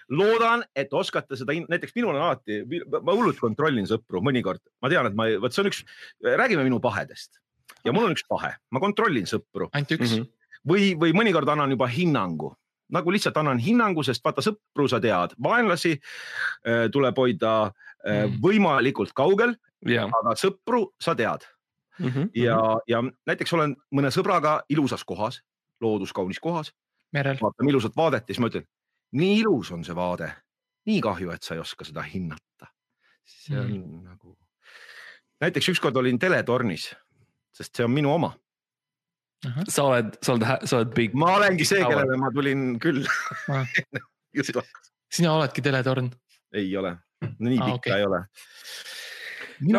loodan , et oskate seda , näiteks minul on alati , ma hullult kontrollin sõpru mõnikord , ma tean , et ma , vot see on üks , räägime minu pahedest . ja mul on üks pahe, ma kontrollin sõpru
ainult üks mm .
Mhm.
-hmm.
või , või mõnikord annan juba hinnangu , nagu lihtsalt annan hinnangu , sest vaata sõpru sa tead , vaenlasi äh, tuleb hoida äh,
Mm.
võimalikult kaugel ,
ja ,
aga sõpru sa tead
Mhm.
ja , ja näiteks olen mõne sõbraga ilusas kohas , looduskaunis kohas ,
merel .
vaatame ilusat vaadet ja siis ma ütlen , nii ilus on see vaade , nii kahju , et sa ei oska seda hinnata . see on mm. nagu , näiteks ükskord olin teletornis , sest see on minu oma ,
sa oled , sa oled , sa oled big ,
ma olengi see , kellele ma tulin külla
Ah. .
*laughs* just ,
sina oledki teletorn .
ei ole , nii
Ah,
pikka
okei.
okay. ei ole . mina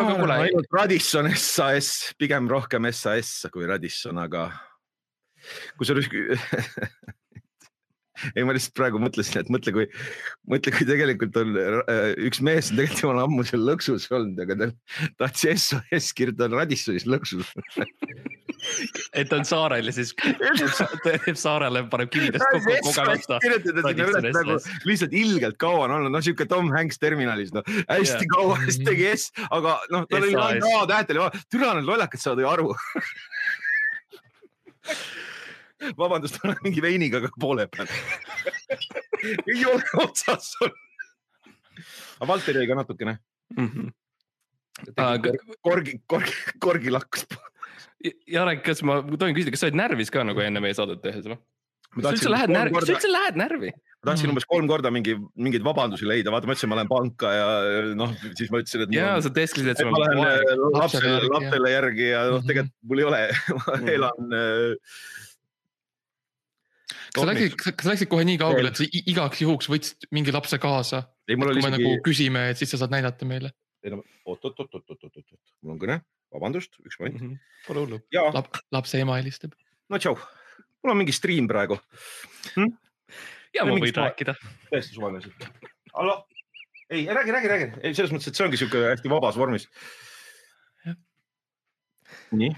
No
no,
aga
olen
kuule-
ainult Radisson SAS , pigem rohkem SAS kui Radisson , aga kusjuures *laughs* ei , ma lihtsalt praegu mõtlesin , et mõtle , kui , mõtle , kui tegelikult on äh, üks mees on tegelikult jumala ammu seal lõksus olnud , aga ta tahtis SOS kirjutada Radissonis lõksus .
et ta on saarel ja siis teeb saarele , paneb kividest kokku kogemata .
kirjutada sinna
Radisson
üles nagu
SOS.
lihtsalt ilgelt kaua on olnud , noh sihuke Tom Hanks terminalis , noh hästi
Jaa. Mhm.
yeah. kaua siis tegi S , aga noh , tal oli ainult
SAS.
A tähtel ja türa need lollakad saavad ju aru . vabandust , ma olen mingi veiniga ka poole peal . ei ole otsas olnud . aga Valteri jäi ka natukene .
Mhm. aga
korgi , korgi , korgi lakkus .
Jarek , kas ma tohin küsida , kas sa olid närvis ka nagu enne meie saadet tehes või ? kas sa üldse lähed närvi , kas sa
ma
üldse lähed närvi ?
tahtsin
Mm.
umbes kolm korda mingi , mingeid vabandusi leida , vaata , ma ütlesin , ma lähen panka ja noh , siis ma ütlesin , et .
ja sa teesklesid , et
et
sul
ma
on
lähen
vaja .
äh,
Lapsele
lapsele ,
järgi,
lapsele järgi ja noh ,
Mhm.
tegelikult mul ei ole , ma
Mhm.
elan äh,
kas sa läksid , kas sa läksid kohe nii kaugele , et sa i- igaks juhuks võtsid mingi lapse kaasa ?
ei , mul
kui
oli
me
isegi
nagu , küsime , et siis sa saad näidata meile .
oot-oot-oot-oot-oot-oot-oot , mul on kõne , vabandust , üks
Mhm.
moment
Mhm. Pole hullu .
ja
lapse ema helistab .
no tšau , mul on mingi stream praegu ,
ja ma
Miks
võin
ma-
rääkida .
täiesti suvaline asi . hallo , ei räägi , räägi , räägi , ei selles mõttes , et see ongi sihuke hästi vabas vormis . nii ,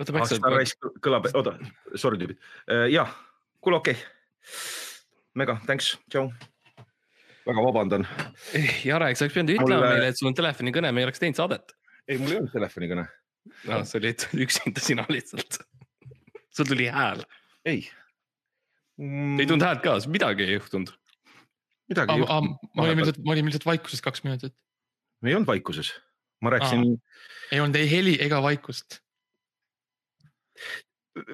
oota , miks
Star
sa ,
Wars kõlab , oota , sorry tüübid , jah , kuule okei okay. , mega , thanks , tšau väga vabandan ,
Eh, Jarek , sa oleks pidanud ütlema
Mulle-
meile , et sul on telefonikõne , me ei oleks teinud saadet .
ei mul ei olnud telefonikõne ,
noh , sa olid üksinda sina lihtsalt . sul tuli hääl ,
ei mm,
ei tulnud häält ka , midagi ei juhtunud .
midagi ei
ma
juhtunud ,
ma olin
vahepeal.
lihtsalt , ma olin lihtsalt vaikuses kaks minutit .
me ei olnud vaikuses . ma rääkisin ,
ei olnud ei heli ega vaikust .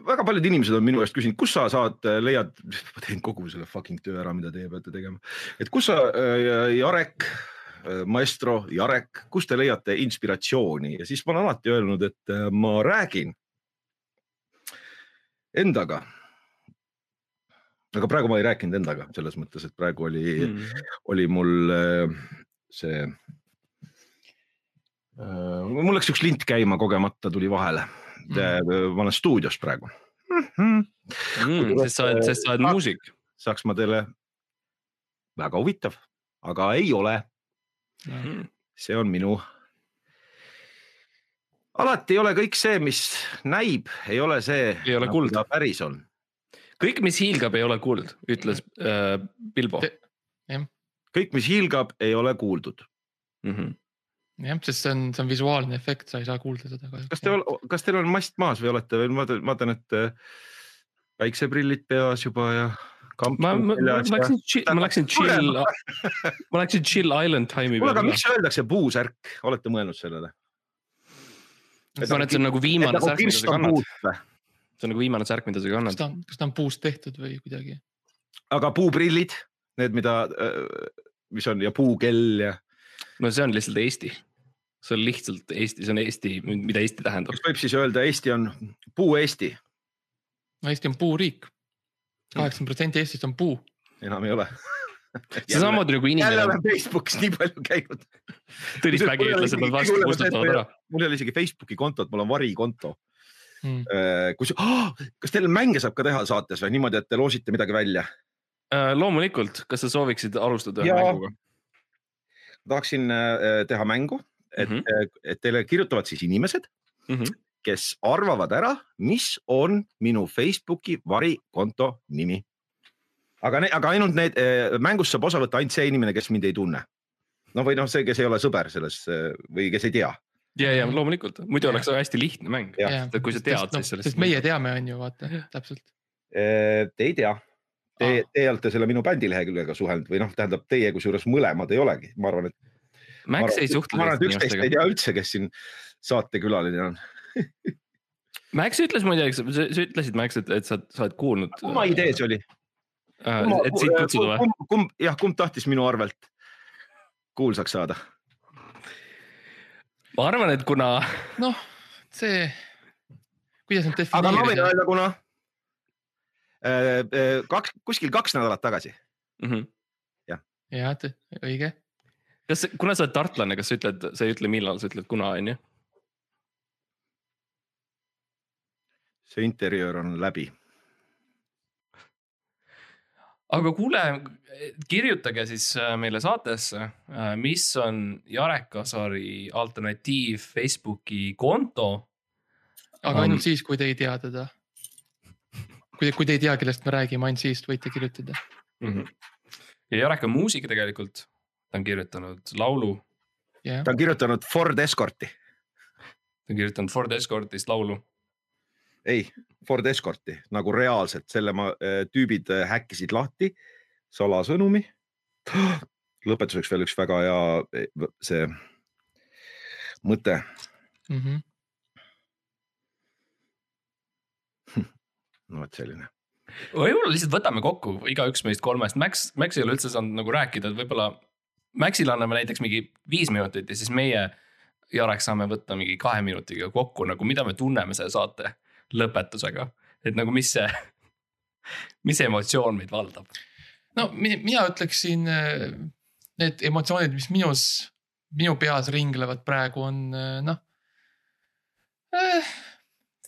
väga paljud inimesed on minu käest küsinud , kus sa saad , leiad , *laughs* ma teen kogu selle fucking töö ära , mida teie peate tegema . et kus sa , Jarek , maestro Jarek , kust te leiate inspiratsiooni ja siis ma olen alati öelnud , et äh, ma räägin endaga aga praegu ma ei rääkinud endaga selles mõttes , et praegu oli mm , -hmm. oli mul äh, see . mul läks üks lint käima kogemata , tuli vahele mm. . ma olen stuudios praegu mm . -hmm.
sest sa oled , sest sa oled
Ah.
muusik .
saaks ma teile , väga huvitav , aga ei ole ,
Mhm.
see on minu . alati ei ole kõik see , mis näib , ei ole see .
Ei ole kuld.
päris on ,
kõik , mis hiilgab , ei ole kuld , ütles äh, Bilbo
Te- .
kõik , mis hiilgab , ei ole kuuldud .
jah , sest see on , see on visuaalne efekt , sa ei saa kuulda seda
kas te , kas teil on mast maas või olete veel , ma vaatan- vaatan , et äh, päikseprillid peas juba ja .
ma , ma läksin , ma läksin chill , *laughs* ma läksin chill island time'i
kuule , aga
peale .
miks öeldakse puusärk , olete mõelnud sellele ?
ma arvan , et see on nagu viimane särk , mida sa kannad .
aga
see on nagu viimane särk , mida sa
kas
kannad .
ta on , kas ta on puust tehtud või kuidagi ?
puuprillid , need , mida , mis on ja puukell ja ,
no see on lihtsalt Eesti . see on lihtsalt Eesti , see on Eesti , mida Eesti tähendab .
kas võib siis öelda , Eesti on puu-Eesti ,
no Eesti on puuriik .
Mm.
kaheksakümmend protsenti Eestist on puu .
enam ei ole .
see samamoodi nagu
jälle
inimene ,
olen Facebookis nii palju käinud ,
Tõnis Mägi ütles , et nad varsti kustutavad ära .
mul ei ole isegi Facebooki kontot , mul on varikonto ,
Mm.
kus oh, , kas teil mänge saab ka teha saates või niimoodi , et te loosite midagi välja ?
Äh, loomulikult , kas sa sooviksid alustada
Jaa.
mänguga ?
tahaksin äh, teha mängu , et mm ,
Mhm.
-hmm. et teile kirjutavad siis inimesed mm ,
Mhm.
-hmm. kes arvavad ära , mis on minu Facebooki varikonto nimi . aga , aga ainult need äh, , mängust saab osa võtta ainult see inimene , kes mind ei tunne . no või noh , see , kes ei ole sõber selles äh, või kes ei tea
ja , ja loomulikult , muidu oleks väga hästi lihtne mäng .
Jah.
kui sa tead , siis sellest .
sest meie teame , on ju , vaata , täpselt .
Äh, Te ei tea . Te ,
Ah.
te olete selle minu bändi leheküljega suhelnud või noh , tähendab teie kusjuures mõlemad ei olegi , ma arvan , et .
Max ei suhtle
ma arvan , et
teiste
üksteist ei
inimestega .
tea üldse , kes siin saatekülaline on .
Max ütles muide , eks sa, sa ütlesid , Max , et , et sa , sa oled kuulnud .
kumma idee see oli ?
et sind Äh, kutsuda või ?
kumb , kumb , jah , kumb tahtis minu arvelt kuulsaks saada ?
ma arvan , et kuna
noh , see , kuidas nüüd
aga ma võin
defineerida ,
öelda , kuna äh, äh, kaks , kuskil kaks nädalat tagasi .
mm . -hmm
jah , õige .
kas , kuna sa oled tartlane , kas sa ütled , sa ei ütle , millal , sa ütled kuna , on ju ?
see interjöör on läbi .
aga kuule , kirjutage siis äh, meile saatesse , mis on Jarek Kasari alternatiiv Facebooki konto .
aga ainult siis , kui te ei tea teda . kui , kui te ei tea , kellest me räägime , ainult siis võite kirjutada .
Mhm. ja Jarek on muusik tegelikult , ta on kirjutanud laulu ,
jah ,
ta on kirjutanud Ford Escorti ,
ta on kirjutanud Ford Escortist laulu .
ei Ford Escorti nagu reaalselt , selle ma , tüübid äh, häkkisid lahti salasõnumi . lõpetuseks veel üks väga hea eh, see mõte ,
Mhm.
no vot selline .
*laughs*
võib-olla lihtsalt võtame kokku igaüks meist kolmest , Max , Max ei ole üldse saanud nagu rääkida , et võib-olla Maxile anname näiteks mingi viis minutit ja siis meie , Jarek , saame võtta mingi kahe minutiga kokku nagu , mida me tunneme selle saate lõpetusega . et nagu , mis see , mis emotsioon meid valdab .
no mi- mina ütleksin , need emotsioonid , mis minus , minu peas ringlevad praegu on eh, noh eh, .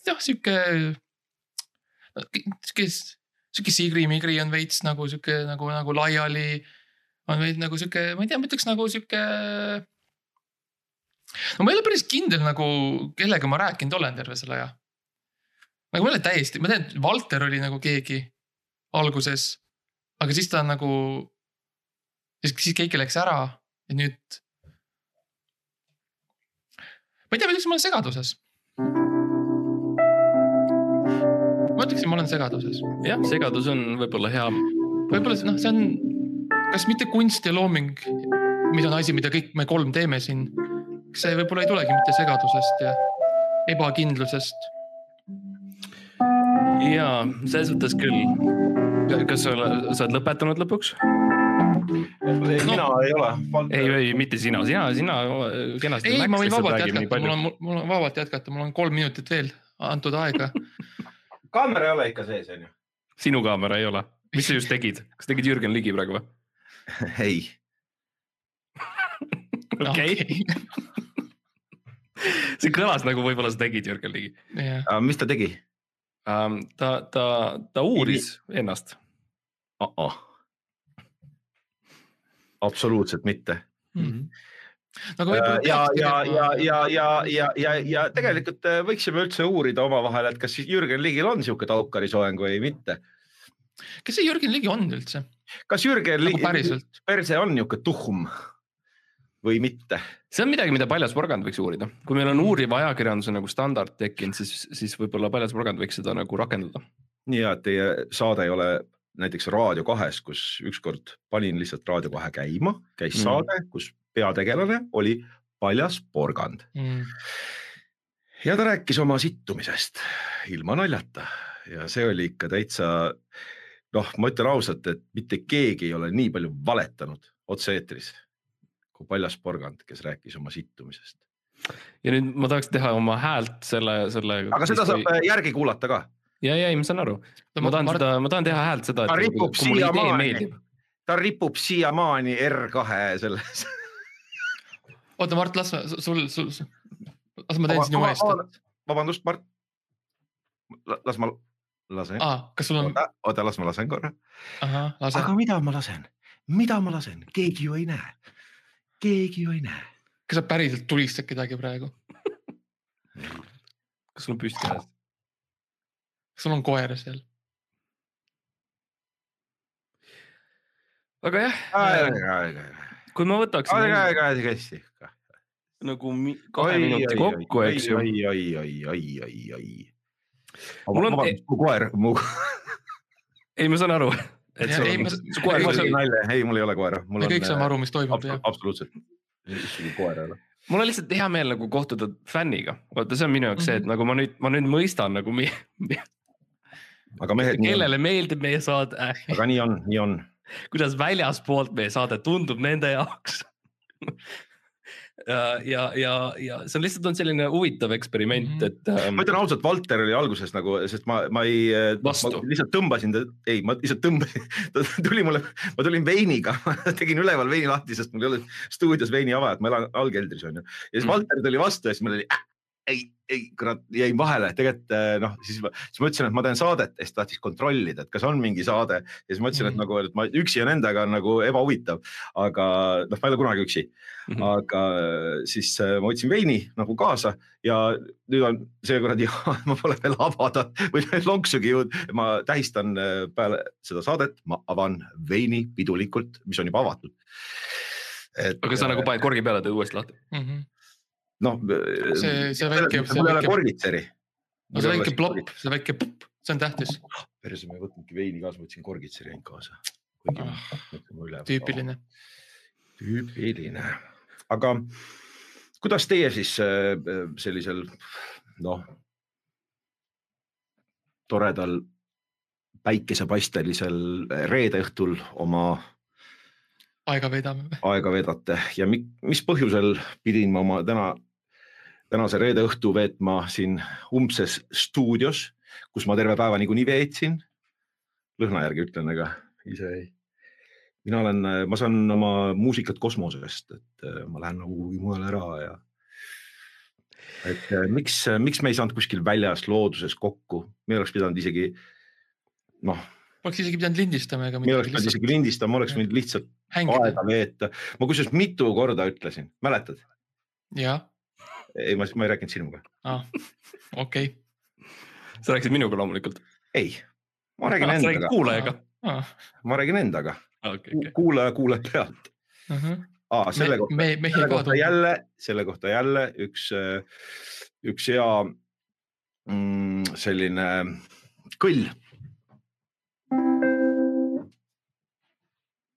noh , sihuke , sihuke , sihuke sigri-migri on veits nagu sihuke nagu , nagu laiali . on veidi nagu sihuke , ma ei tea , ma ütleks nagu sihuke . no ma ei ole päris kindel nagu , kellega ma rääkinud olen terve selle aja . nagu ma ei ole täiesti , ma tean , et Valter oli nagu keegi alguses aga siis ta on nagu , siis siis keegi läks ära ja nüüd . ma ei tea , ma ütleks , ma olen segaduses . ma ütleksin , ma olen segaduses ,
jah , segadus on võib-olla hea .
võib-olla see- noh , see on , kas mitte kunst ja looming , mis on asi , mida kõik me kolm teeme siin . kas see võib-olla ei tulegi mitte segadusest ja ebakindlusest ,
ja selles mõttes küll . kas sa oled , sa oled lõpetanud lõpuks ?
mina ei
ei ,
ole .
ei , mitte sina , sina , sina kenasti .
ei , ma võin vabalt jätkata , mul on , mul on vabalt jätkata , mul on kolm minutit veel antud aega
kaamera ei ole ikka sees , onju ?
sinu kaamera ei ole , mis sa just tegid , kas tegid Jürgen Ligi praegu või ?
ei ,
okei , see kõlas nagu võib-olla sa tegid Jürgen Ligi
*laughs* jah ,
aga mis ta tegi
um, . ta , ta , ta uuris ennast .
uh ? -oh. absoluutselt mitte .
Hmm. aga võib-olla
Mhm. Äh, ja ,
peaks
ja ,
tegema- nagu
ja , ja , ja , ja , ja , ja tegelikult äh, võiksime üldse uurida omavahel , et kas siis Jürgen Ligil on sihuke taukari soeng või mitte .
kes see Jürgen Ligi on üldse ?
kas Jürgen
nagu
Ligi
päriselt .
perse on nihuke tuhm või mitte ?
see on midagi , mida Paljas porgand võiks uurida , kui meil on uuriva ajakirjanduse nagu standard tekkinud , siis , siis võib-olla Paljas porgand võiks seda nagu rakendada .
nii hea , et teie saade ei ole näiteks Raadio kahes , kus ükskord panin lihtsalt Raadio kahe käima , käis
Mhm.
mm. saade , kus peategelane oli paljas porgand
Mm.
ja ta rääkis oma sittumisest ilma naljata ja see oli ikka täitsa noh , ma ütlen ausalt , et mitte keegi ei ole nii palju valetanud otse-eetris kui paljas porgand , kes rääkis oma sittumisest ,
ja nüüd ma tahaks teha oma häält selle , selle .
aga seda saab . äh, järgi kuulata ka .
ja , ja ei , ma saan aru , ma tahan seda , ma tahan teha häält seda . nagu
ta ripub siiamaani , ta ripub siiamaani R2
*laughs*
selles .
oota , Mart , las ma- sul , sul , sul , las ma teen sinu eest .
vabandust , Mart . las ma lasen ,
aa , kas sul on ,
oota , oota , las ma lasen korra .
ahah , lase .
aga mida ma lasen , mida ma lasen , keegi ju ei näe , keegi ju ei näe .
kas sa päriselt tulistad kedagi praegu ?
kas sul on püsti käes ?
kas sul on koer seal ?
aga jah , kui ma võtaksin .
aega , aega , aega , hästi .
nagu mi- kahe ai, minuti ai, kokku , eks ju .
ai , ai , ai , ai , ai , ai .
Mul
mul
on-
on , mu koer , mu ,
ei , ma saan aru , *laughs* et
Ja
sul
ei,
on
ma-
su
ei,
koer
ma
oli
saan-
nalja , ei , mul äh, ei ole koera .
me kõik saame aru , mis toimub ja
Abs- absoluutselt , ükski koer ei ole .
mul on lihtsalt hea meel nagu kohtuda fänniga , vaata , see on minu jaoks see , et nagu ma nüüd , ma nüüd mõistan nagu ,
aga mehed , nii on ,
kellele meeldib meie saade ,
aga nii on , nii on .
kuidas väljaspoolt meie saade tundub nende jaoks *laughs* ja , ja , ja , ja see on lihtsalt on selline huvitav eksperiment ,
Mhm.
et ähm,
ma ütlen ausalt , Valter oli alguses nagu , sest ma , ma ei .
Vastu.
lihtsalt tõmbasin ta , ei , ma lihtsalt tõmbasin , *laughs* ta tuli mulle , ma *laughs* tulin veiniga , tegin üleval veini lahti , sest mul ei ole stuudios veini avajat , ma elan allkeldris on ju . ja siis
Mm.
Valter tuli vastu ja siis mul oli äh, ei , ei kurat , jäin vahele , tegelikult äh, noh , siis ma , siis ma ütlesin , et ma teen saadet ja siis ta tahtis kontrollida , et kas on mingi saade ja siis
Mm.
ma ütlesin , et
Mhm.
nagu , et ma üksi on endaga on nagu ebahuvitav , aga noh , ma ei ole kunagi üksi .
Mhm.
aga siis äh, ma võtsin veini nagu kaasa ja nüüd on see kuradi , *laughs* ma pole veel avada või *laughs* lonksugi jõudnud , ma tähistan äh, peale seda saadet , ma avan veini pidulikult , mis on juba avatud .
aga sa nagu paned korgi peale , teed uuesti lahti .
mm . -hmm.
noh .
see- see väike- see
mul ei ole
väike-
korgitseri .
no see väike plopp , see väike pupp , see on tähtis ,
perse , ma ei võtnudki veini kaasa , ma võtsin korgitseri ainult kaasa . kuigi ma mõtlen, ma üle-
Ah, tüüpiline .
tüüpiline , aga kuidas teie siis äh, sellisel noh , toredal päikesepaistelisel reede õhtul oma
aega veedame . *laughs*
aega veedate ja mi, mis põhjusel pidin ma oma täna , tänase reede õhtu veetma siin umbses stuudios , kus ma terve päeva niikuinii veetsin . lõhna järgi ütlen , aga ise ei . mina olen , ma saan oma muusikat kosmosest , et äh, ma lähen nagu kuhugi mujale ära ja . et äh, miks , miks me ei saanud kuskil väljas looduses kokku , me oleks pidanud isegi noh ,
oleks isegi pidanud lindistama ega
me oleks pidanud
midagi .
isegi lindistama , oleks võinud lihtsalt
hängida
aega veeta . ma kusjuures mitu korda ütlesin , mäletad ?
ja ,
ei , ma , ma ei rääkinud sinuga .
okei .
sa rääkisid minuga loomulikult .
ei , ma räägin
sa
Ah,
räägid
endaga ,
kuulajaga .
ma räägin endaga ,
okei , okei .
kuulaja kuuleb pealt .
Mhm.
aa , selle kohta ,
me , mehi
selle
ka
kohta . jälle , selle kohta jälle üks , üks hea mm, selline kõll .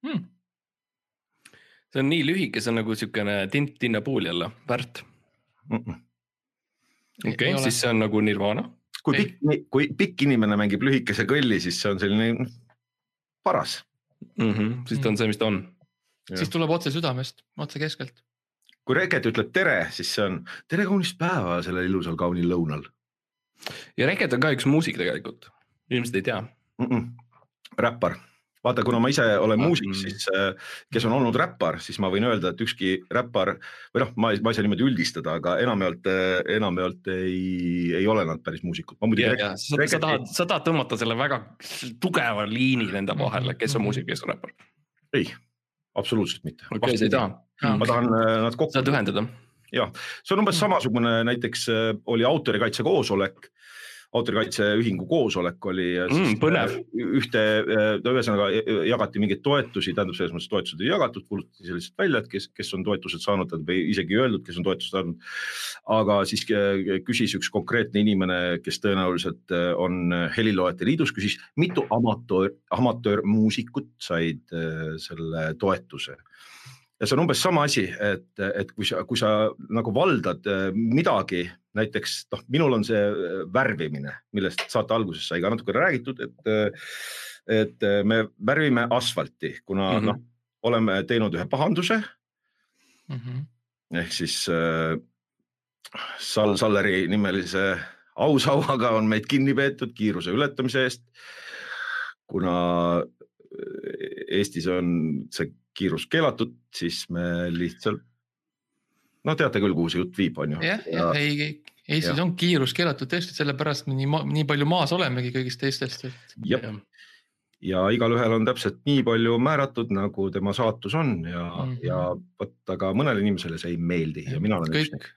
Hmm.
see on nii lühike , see on nagu siukene tint tinnapuul jälle , värt .
Ei-
okei
ei
okay, ,
ole.
siis see on nagu nirvana .
kui
Ei.
pikk , kui pikk inimene mängib lühikese kõlli , siis see on selline paras .
Mm -hmm. siis ta on see , mis ta on .
siis tuleb otse südamest , otse keskelt .
kui Reket ütleb tere , siis see on tere kaunist päeva sellel ilusal kaunil lõunal
ja Reket on ka üks muusik tegelikult , inimesed ei tea .
mm . -mm. räppar , vaata , kuna ma ise olen
Ah,
muusik
mm. ,
siis äh, kes on olnud räppar , siis ma võin öelda , et ükski räppar või noh , ma ei , ma ei saa niimoodi üldistada , aga enamjaolt , enamjaolt ei , ei ole nad päris muusikud . ma muidugi
ja ,
yeah,
ja sa, sa tahad , sa tahad tõmmata selle väga tugeva liini nende vahele , kes on muusik , kes on räppar .
absoluutselt mitte
okei okay, , sa ei taha ,
ma tahan äh, nad kokku
sa tahad ühendada .
see on umbes
Mm.
samasugune , näiteks äh, oli autorikaitse koosolek , autorikaitseühingu koosolek oli ja siis
Mm, põnev.
äh, ühte , ühesõnaga äh, jagati mingeid toetusi , tähendab selles mõttes toetused ei jagatud , kuulutati see lihtsalt välja , et kes , kes on toetused saanud , tähendab ei- isegi ei öeldud , kes on toetused saanud . aga siis äh, küsis üks konkreetne inimene , kes tõenäoliselt äh, on heliloojate liidus , küsis , mitu amatöör , amatöörmuusikut said äh, selle toetuse ja see on umbes sama asi , et , et kui sa , kui sa nagu valdad äh, midagi , näiteks noh , minul on see äh, värvimine , millest saate alguses sai ka natukene räägitud , et , et äh, me värvime asfalti , kuna mm
Mhm.
-hmm. noh , oleme teinud ühe pahanduse
Mhm.
ehk siis äh, Sal Salleri nimelise ausauaga on meid kinni peetud kiiruse ületamise eest . kuna äh, Eestis on see kiirus keelatud , siis me lihtsalt , no teate küll , kuhu see jutt viib , on ju .
jah , jah , ei , Eestis
ja.
on kiirus keelatud tõesti , sellepärast me nii , nii palju maas olemegi kõigist teistest , et
Jep. ja igalühel on täpselt nii palju määratud , nagu tema saatus on ja mm ,
Mhm.
-hmm. ja vot , aga mõnele inimesele see ei meeldi ja mina olen üks
kõik ,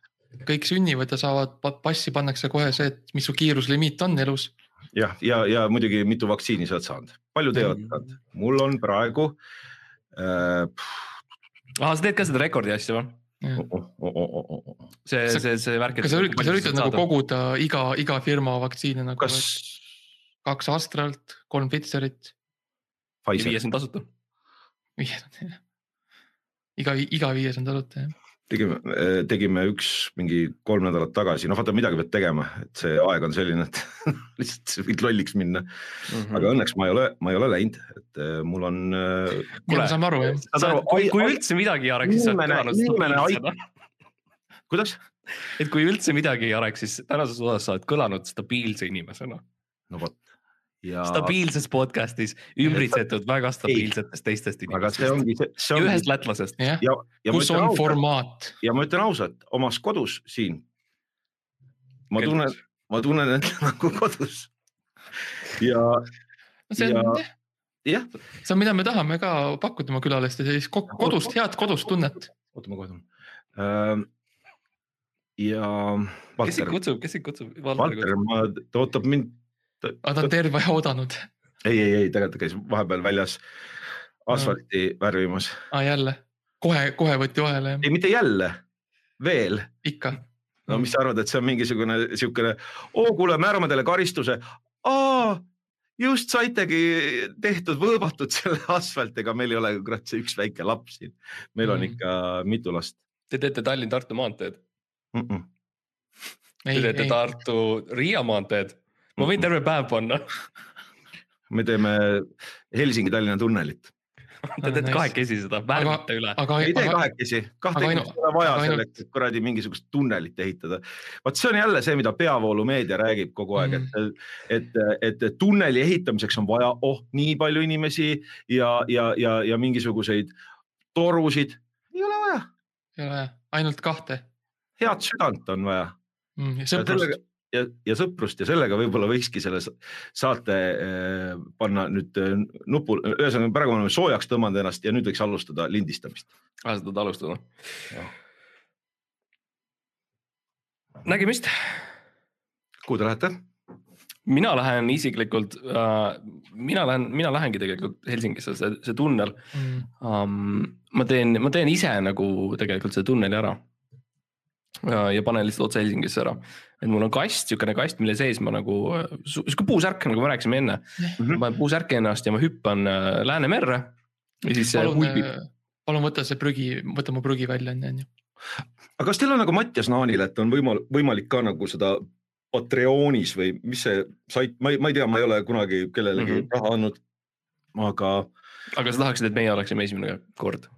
kõik sünnivad ja saavad pa- passi , pannakse kohe see , et mis su kiiruslimiit on elus .
jah , ja, ja , ja muidugi mitu vaktsiini sa oled saanud , palju te olete saanud ?
Mhm.
mul on praegu äh, , oh,
aa , sa teed ka seda rekordi asja või ? see ,
Sa-
see , see värk .
kas sa üritad , sa üritad nagu ? koguda iga , iga firma vaktsiine nagu
kas
et kaks Astralt , kolm Pfizerit ,
ja
Pfizer
viies on tasuta .
viies on jah . iga , iga viies on tasuta jah .
tegime , tegime üks mingi kolm nädalat tagasi , noh vaata midagi pead tegema , et see aeg on selline , et *laughs* lihtsalt sa võid lolliks minna ,
Mm-hmm.
aga
Mhm.
õnneks ma ei ole , ma ei ole läinud , et eh, mul on .
ja
Kuule,
me saame aru jah .
saad aru , kui , kui üldse midagi ei areks , siis sa oled
Inimene-
kõlanud
inimene
stabiilsena .
kuidas ?
et kui üldse midagi ei areks , siis tänases osas sa oled kõlanud stabiilse inimesena .
no vot . ja ,
stabiilses podcast'is ümbritsetud väga stabiilsetest teistest
aga see
inimestest .
ongi see , see
ja
ongi
ühest lätlasest .
jah ,
ja , ja ma
kus
ütlen
on
ausalt ,
formaat ,
ja ma ütlen ausalt , omas kodus siin . ma tunnen , ma tunnen end *laughs* nagu kodus . ja
see on
Ja-
jah ,
jah ,
see on , mida me tahame ka pakkuda oma külalistele , siis ko- kodust , head kodust tunnet .
oota , ma kohe tulen . ja
kes sind
Valter ,
kutsub , kes sind kutsub ?
Valter , ma , ta ootab mind ,
aga ta on terve aja oodanud ,
ei , ei , ei , tegelikult ta käis vahepeal väljas asfalti värvimas ,
aa jälle , kohe , kohe võeti vahele jah ,
ei mitte jälle , veel
ikka .
no mis sa arvad , et see on mingisugune siukene , oo kuule , määrame teile karistuse . aa , just saitegi tehtud , võõbatud selle *laughs* asfaltiga , meil ei ole ju kurat see üks väike laps siin . meil on
Mm.
ikka mitu last
Te teete Tallinn-Tartu maanteed ,
mm . -mm.
ei
te , teete
ei ,
Tartu-Riia maanteed . ma võin terve päev panna ,
Ah,
me teeme Helsingi-Tallinna tunnelit ,
te teete
Nice.
kahekesi seda , värvite üle .
aga ,
ei tee
aga ,
kahekesi , kahte
aga
inimest ei ole vaja
aga ainult-
selleks , et kuradi mingisugust tunnelit ehitada . vot see on jälle see , mida peavoolumeedia räägib kogu aeg ,
Mm.
et , et , et tunneli ehitamiseks on vaja , oh nii palju inimesi ja , ja , ja , ja mingisuguseid torusid ei ole vaja ,
ei ole vaja , ainult kahte
head südant on vaja .
mm, .
ja
ja
sellega
sõprust ,
ja, ja sõprust ja sellega võib-olla võikski selle sa- saate eh, panna nüüd eh, nupu , ühesõnaga praegu me oleme soojaks tõmmanud ennast ja nüüd võiks alustada lindistamist .
sa tahad alustada ? nägemist ,
kuhu te lähete ?
mina lähen isiklikult äh, , mina lähen , mina lähengi tegelikult Helsingisse , see , see tunnel
mm,
um, . ma teen , ma teen ise nagu tegelikult selle tunneli ära . ja panen lihtsalt otse Helsingisse ära , et mul on kast , sihukene kast , mille sees ma nagu su- sihuke puusärk , nagu me rääkisime enne .
Mhm.
ma panen puusärki ennast ja ma hüppan äh, Läänemerre ja siis see
palun
äh,
äh,
hulbib .,
palun võta see prügi , võta mu prügi välja onju , onju .
aga kas teil on nagu Mattias Naanil , et on võimal- , võimalik ka nagu seda Patreonis või mis see sait , ma ei , ma ei tea , ma ei ole kunagi kellelegi mm
Mhm.
-hmm. raha andnud . aga
aga sa tahaksid , et meie oleksime esimene kord ?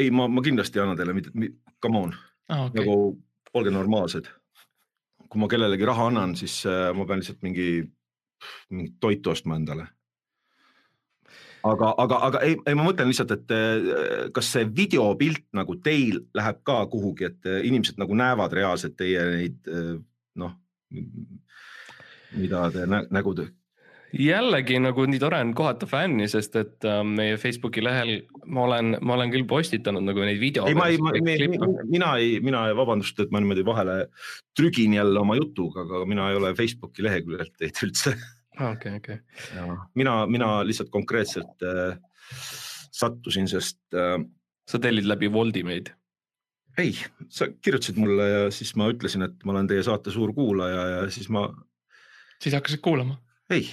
ei , ma , ma kindlasti ei anna teile mitte , come on okay. ,
aa okei ,
nagu olge normaalsed . kui ma kellelegi raha annan , siis äh, ma pean lihtsalt mingi , mingit toitu ostma endale . aga , aga , aga ei , ei , ma mõtlen lihtsalt , et äh, kas see videopilt nagu teil läheb ka kuhugi , et äh, inimesed nagu näevad reaalselt teie neid äh, noh , mida te nä nägu te ,
jällegi nagu nii tore on kohata fänni , sest et äh, meie Facebooki lehel ma olen , ma olen küll postitanud nagu neid video .
ei , ma ei , mina ei , mina ei , vabandust , et ma niimoodi vahele trügin jälle oma jutuga , aga mina ei ole Facebooki leheküljelt teid üldse .
Ah, okei , okei .
mina , mina lihtsalt konkreetselt äh, sattusin , sest äh,
sa tellid läbi Woldi meid .
ei , sa kirjutasid mulle ja siis ma ütlesin , et ma olen teie saate suur kuulaja ja siis ma ,
siis hakkasid kuulama .
ei ,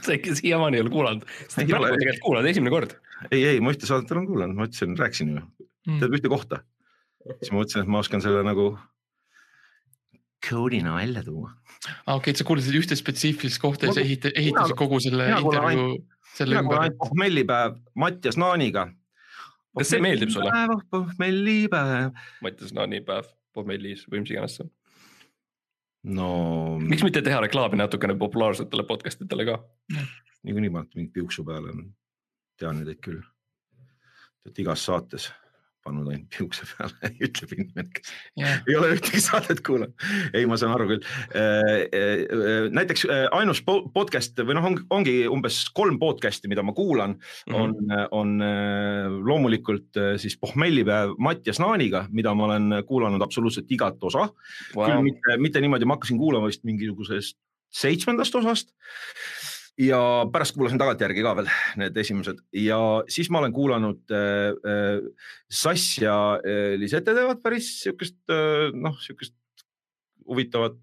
sa ikka siiamaani ei ole kuulanud , sa
Ei
praegu
ole.
tegelikult kuulad esimene kord .
ei , ei , ma ühte saadet olen kuulanud , ma ütlesin , rääkisin ju ,
Mm.
Mm.
tead ühte kohta . siis ma mõtlesin , et ma oskan selle nagu koodina välja tuua .
aa okei , sa kuulasid ühte spetsiifilist kohta ja
Ma-
sa ehita- ,
mina-
ehitasid kogu selle
mina kuulan
intervjuu selle
mina kuulan
ümber .
ainult pohmellipäev Mattias Naaniga .
Kas see meeldib sulle? ?
pohmellipäev ,
Mattias Naanipäev , Pommelis või mis iganes see on .
no
miks mitte teha reklaami natukene populaarsetele podcast itele ka ?
niikuinii panete mingit piuksu peale , tean ju teid küll . Te olete igas saates pannud ainult piukse peale , *laughs* ütleb inimene , kes ei ole ühtegi saadet kuulanud . ei , ma saan aru küll . näiteks eh, ainus po- podcast või noh , ongi umbes kolm podcast'i , mida ma kuulan ,
Mhm.
on , on eh, loomulikult eh, siis Pohmellipäev Mattias Naaniga , mida ma olen kuulanud absoluutselt igat osa . küll
wow. .
mitte , mitte niimoodi , ma hakkasin kuulama vist mingisugusest seitsmendast osast . ja pärast kuulasin tagantjärgi ka veel need esimesed ja siis ma olen kuulanud äh, äh, Sass ja äh, Lisette teevad päris sihukest äh, noh, sihukest huvitavat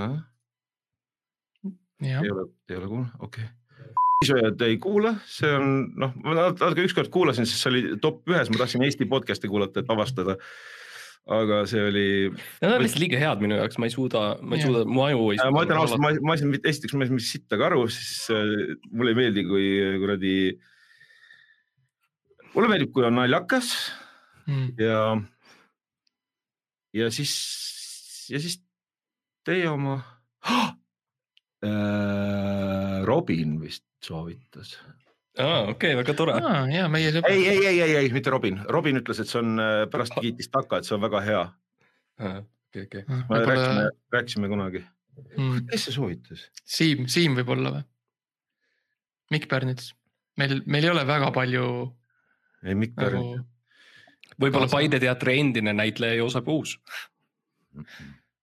äh?
jah
ei , ole , ei ole kuulnud , okei okay. . sööjad ei kuula , see on noh , ma nat- natuke ükskord kuulasin , sest see oli top ühes , ma tahtsin Eesti podcast'i kuulata , et avastada . aga see oli ,
Need on lihtsalt liiga head minu jaoks , ma ei suuda , ma ei
Jah.
suuda , mu aju ei suuda .
Äh, ma ütlen ausalt , ma , ma ei saanud , esiteks ma ei saanud mitte sittagi aru , siis äh, mulle ei meeldi , kui kuradi . mulle meeldib , kui on naljakas
mm. .
ja , ja siis , ja siis teie oma *gasps* Äh, Robin vist soovitas .
aa , okei , väga tore .
aa , ja meie sõber .
ei , ei , ei , ei , ei , mitte Robin , Robin ütles , et see on äh, pärast kiitis taka , et see on väga hea .
okei , okei .
me rääkisime
Ah, võib-olla ,
rääkisime kunagi .
mm,
kes see soovitas ?
Siim , Siim võib-olla või ? Mikk Pärnits . meil , meil ei ole väga palju
ei , Mikk
nagu
Pärn .
võib-olla
Kaasa-
Paide teatri endine näitleja Joosep Uus .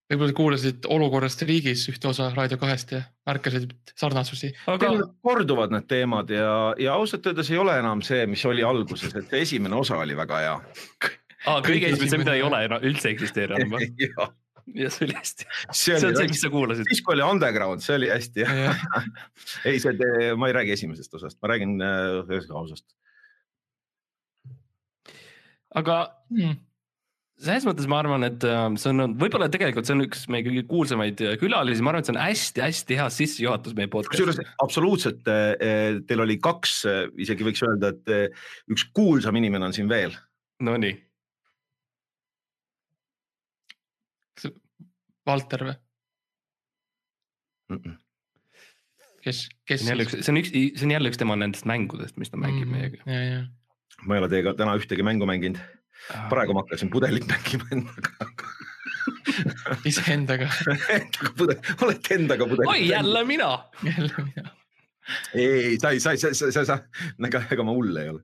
võib-olla kuulasid olukorrast riigis ühte osa Raadio kahest ja märkasid sarnasusi .
aga
Teil korduvad need teemad ja , ja ausalt öeldes ei ole enam see , mis oli alguses , et see esimene osa oli väga hea . *laughs*
aa, kõige
Kõige
esimene , see mida ei
esimene-
ole enam , üldse ei eksisteeri *laughs* enam või ? jah , see oli hästi , see on see , mis sa kuulasid .
siis kui oli Underground , see oli hästi hea .
jah ,
*laughs* ei , see , ma ei räägi esimesest osast , ma räägin äh, ühest osast .
aga
mm.
selles mõttes ma arvan , et äh, see on võib-olla tegelikult see on üks meie kõige kuulsamaid äh, külalisi , ma arvan , et see on hästi-hästi hea sissejuhatus meie
kusjuures
podcast'i .
absoluutselt äh, teil oli kaks , isegi võiks öelda , et äh, üks kuulsam inimene on siin veel .
Nonii ,
Valter või , kes , kes
see on
Hmm,
jälle üks , see on üks , see on jälle üks tema nendest mängudest , mis ta
Mm.
mängib meiega .
ja , ja ,
ma ei ole teiega täna ühtegi mängu mänginud , praegu ma hakkasin pudelit mängima endaga ,
iseendaga *laughs*
endaga pudel , olete endaga pudelit .
oi ,. jälle mina .
jälle mina .
ei , ei , sa ei , sa ei , sa , sa , sa , sa , ega , ega ma hull ei ole .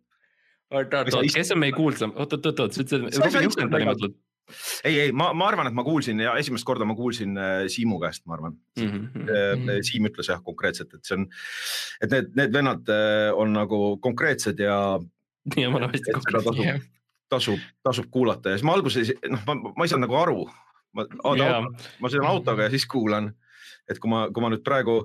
oot , oot , oot , kes on meie kuulsam , oot , oot , oot , oot , sa ütlesid ,
Sa ei saa
Robin Juhkend oli
istuda.
mõeldud .
ei , ei , ma , ma arvan , et ma kuulsin ja esimest korda ma kuulsin äh, Siimu käest , ma arvan . Äh,
Mhm.
Siim ütles jah konkreetselt , et see on , et need , need vennad äh, on nagu konkreetsed ja
ja ma olen hästi
et seda
kokku .
tasub , tasub , tasub kuulata ja siis ma alguses , noh , ma , ma ei saanud nagu aru . ma ,
jaa ,
ma sõidan autoga ja siis kuulan . et kui ma , kui ma nüüd praegu ,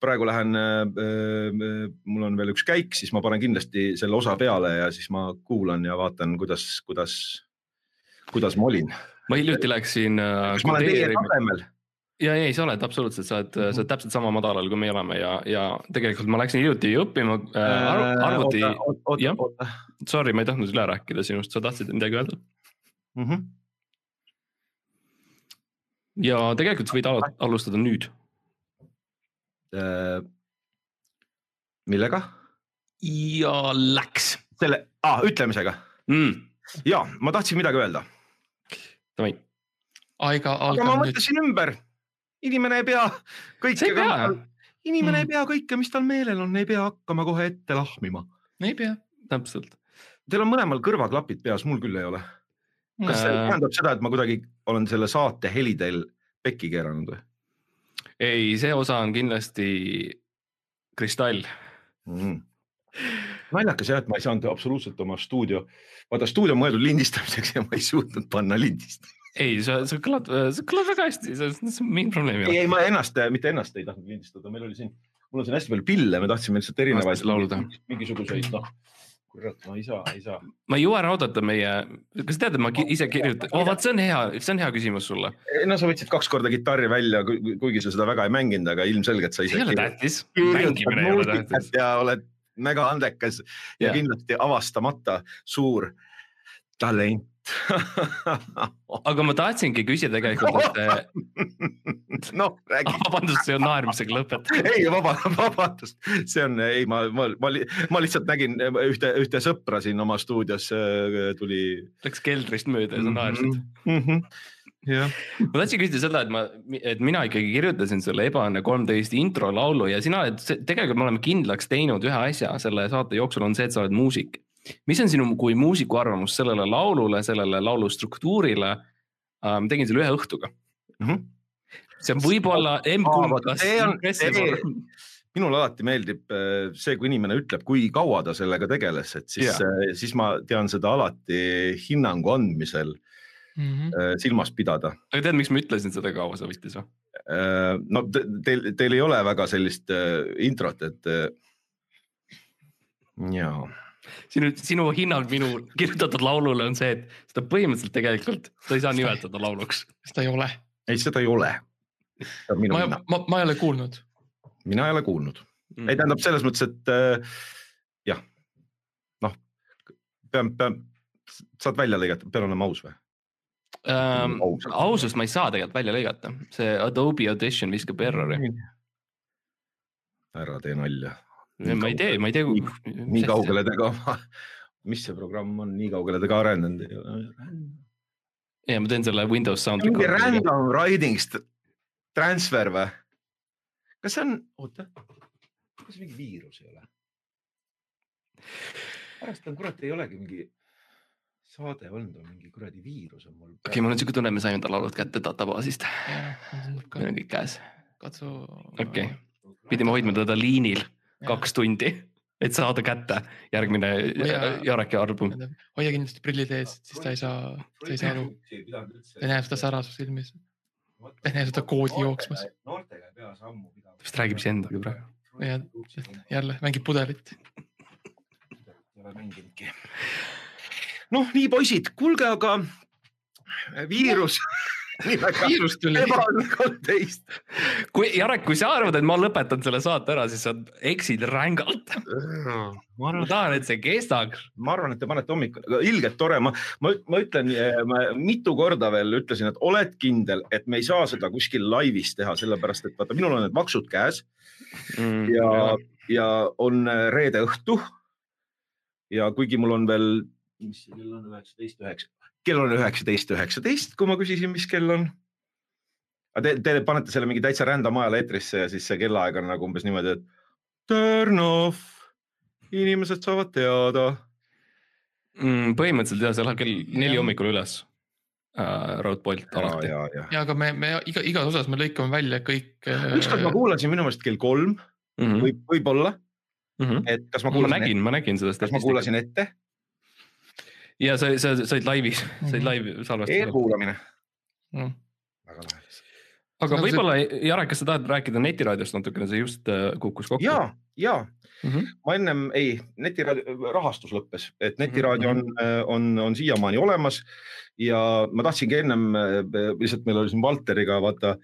praegu lähen äh, , mul on veel üks käik , siis ma panen kindlasti selle osa peale ja siis ma kuulan ja vaatan , kuidas , kuidas , kuidas ma olin .
ma hiljuti läksin äh,
kas ma olen teie Mhm.
kodeerima .
tasemel ?
ja , ei , sa oled absoluutselt , sa oled , sa oled täpselt sama madalal , kui meie oleme ja , ja tegelikult ma läksin hiljuti õppima äh, arv- arvuti ,
oota
jah. ,
oota .
sorry , ma ei tahtnud üle rääkida sinust , sa tahtsid midagi öelda ? ja tegelikult sa võid al alustada nüüd .
Äh, millega ?
ja läks
selle , aa , ütlemisega .
mm. .
ja ma tahtsin midagi öelda ,
Davai ,
aga
Aiga
ma
algab nüüd ,
mõtlesin ümber . inimene ei pea
sa ei
kõike
pea ,,
inimene
Mm.
ei pea kõike , mis tal meelel on , ei pea hakkama kohe ette lahmima .
ei pea .
täpselt .
Teil on mõlemal kõrvaklapid peas , mul küll ei ole . kas see
Äh.
tähendab seda , et ma kuidagi olen selle saate heli teil pekki keeranud või
ei , see osa on kindlasti kristall .
mm. ? naljakas jah , et ma ei saanud absoluutselt oma stuudio , vaata stuudio on mõeldud lindistamiseks ja ma ei suutnud panna lindist .
ei , sa , sa kõlad , sa kõlad väga hästi , selles mingit probleemi ei
ei ,
ole .
ei ma ennast , mitte ennast ei tahtnud lindistada , meil oli siin , mul on siin hästi palju pille , me tahtsime lihtsalt erinevaid
Tahtsid laulda.
mingisuguseid noh , kurat , no ei saa , ei saa .
ma ei jõua ära oodata meie , kas sa tead , et ma ki- ise kirjutan oh, , vaat see on hea , see on hea küsimus sulle .
Eh, no sa võtsid kaks korda kitarri välja , kuigi sa seda väga ei mänginud , aga ilmselgelt sa
see
ise
ei ole
kirjutasid.
tähtis , mängimine ei ole tähtis
muusikat . ja oled mega andekas ja,
Jah.
ja kindlasti avastamata suur talent
aga ma tahtsingi küsida tegelikult ,
*laughs*
et
noh , räägi ,
Ah, vabandust , see on naermisega lõpet .
ei vaba , *laughs* vabandust , see on , ei , ma , ma , ma , ma lihtsalt nägin eh, ühte , ühte sõpra siin oma stuudios äh, tuli
Läks keldrist mööda ja sa naersid .
mm . -hmm. jah ,
ma tahtsin küsida seda , et ma , et mina ikkagi kirjutasin selle Ebaõnne kolmteist intro laulu ja sina oled , tegelikult me oleme kindlaks teinud ühe asja selle saate jooksul on see , et sa oled muusik . mis on sinu kui muusiku arvamus sellele laulule , sellele laulu struktuurile äh, ? ma tegin selle ühe õhtuga
Mhm. .
see on võib-olla
M-kumb. see on, see, minule alati meeldib eh, see, kui inimene ütleb, kui kaua ta sellega tegeles, et siis yeah., siis ma tean seda alati hinnangu andmisel mm
Mhm.
-hmm. silmas pidada. Eh,
aga tead, miks ma ütlesin seda kaua sa võttis või?
no teil, teil ei ole väga sellist eh, introt, et jaa
sinu, sinu hinnang minu kirjutatud laulule on see, et seda põhimõtteliselt tegelikult sa ei saa nimetada lauluks.
seda ei ole.
ei, seda ei ole.
ma, ma, ma ei ole kuulnud.
mina ei ole kuulnud mm.. ei,
Mm-hmm.
tähendab selles mõttes, et äh, jah, noh, pean, pean, saad välja lõigata, pean olema aus või?
Ähm, ausust ma ei saa tegelikult välja lõigata, see Adobe Audition viskab errori.
ära tee nalja
Nii ma ei tee, ma ei tea.
nii kaugele ta ka, mis see programm on, nii kaugele ta ka arenenud ei ole.
ja ma teen selle Windows sound.
mingi random writing transfer või? kas see on, oota, kas see mingi viirus ei ole? pärast on kurat, ei olegi mingi saade olnud, on mingi kuradi viirus on mul.
okei okay,, mul on siuke tunne, me saime tal laulud kätte databaasist. meil on kõik käes.
katsu.
okei okay., pidime hoidma teda liinil kaks tundi, et saada kätte järgmine Jareki album.
hoia kindlasti prillid ees, siis ta ei saa, ta ei saa aru. ta näeb seda sära su silmis. ta näeb seda koodi jooksmas.
ta vist räägib siis endaga praegu.
jah, jälle mängib pudelit.
ei ole mänginudki. noh, nii poisid, kuulge, aga viirus
viirus
*laughs*
tuli.
kolmteist.
kui Jarek, kui sa arvad, et ma lõpetan selle saate ära, siis sa eksid rängalt. ma tahan, et see kestaks.
ma arvan, et te panete hommikul, ilgelt tore, ma, ma, ma ütlen, eh, ma mitu korda veel ütlesin, et oled kindel, et me ei saa seda kuskil laivis teha, sellepärast et vaata, minul on need maksud käes mm, ja, ja on eh, reede õhtu. ja kuigi mul on veel, mis see kell on, üheksateist, üheksa kell on üheksateist, üheksateist, kui ma küsisin, mis kell on. Te, te panete selle mingi täitsa random ajal eetrisse ja siis see kellaaeg on nagu umbes niimoodi, et turn off, inimesed saavad teada
mm,. põhimõtteliselt jah, see läheb kell neli hommikul üles äh,. raudpolt alati.
ja,
ja, ja., aga me, me iga, igas osas me lõikame välja kõik.
*laughs*
äh,
ükskord ma kuulasin minu meelest kell kolm Äh. mm -hmm. võib, võib-olla mm. -hmm. et kas ma
kuulasin. Mhm, ma nägin, ma nägin seda.
kas ma kuulasin ette?
ja sa, sa, sa olid laivis, sa olid live salvestusel.
Mhm. eelkuulamine
noh.
mm.. väga lahe. aga võib-olla see... Jarek, kas sa tahad rääkida netiraadiost natukene, see just äh, kukkus kokku.
ja, ja mm -hmm. ma ennem ei, netiraadio rahastus lõppes, et netiraadio mm -hmm. on, on, on siiamaani olemas ja ma tahtsingi ennem, äh, lihtsalt meil oli siin Valteriga vaata,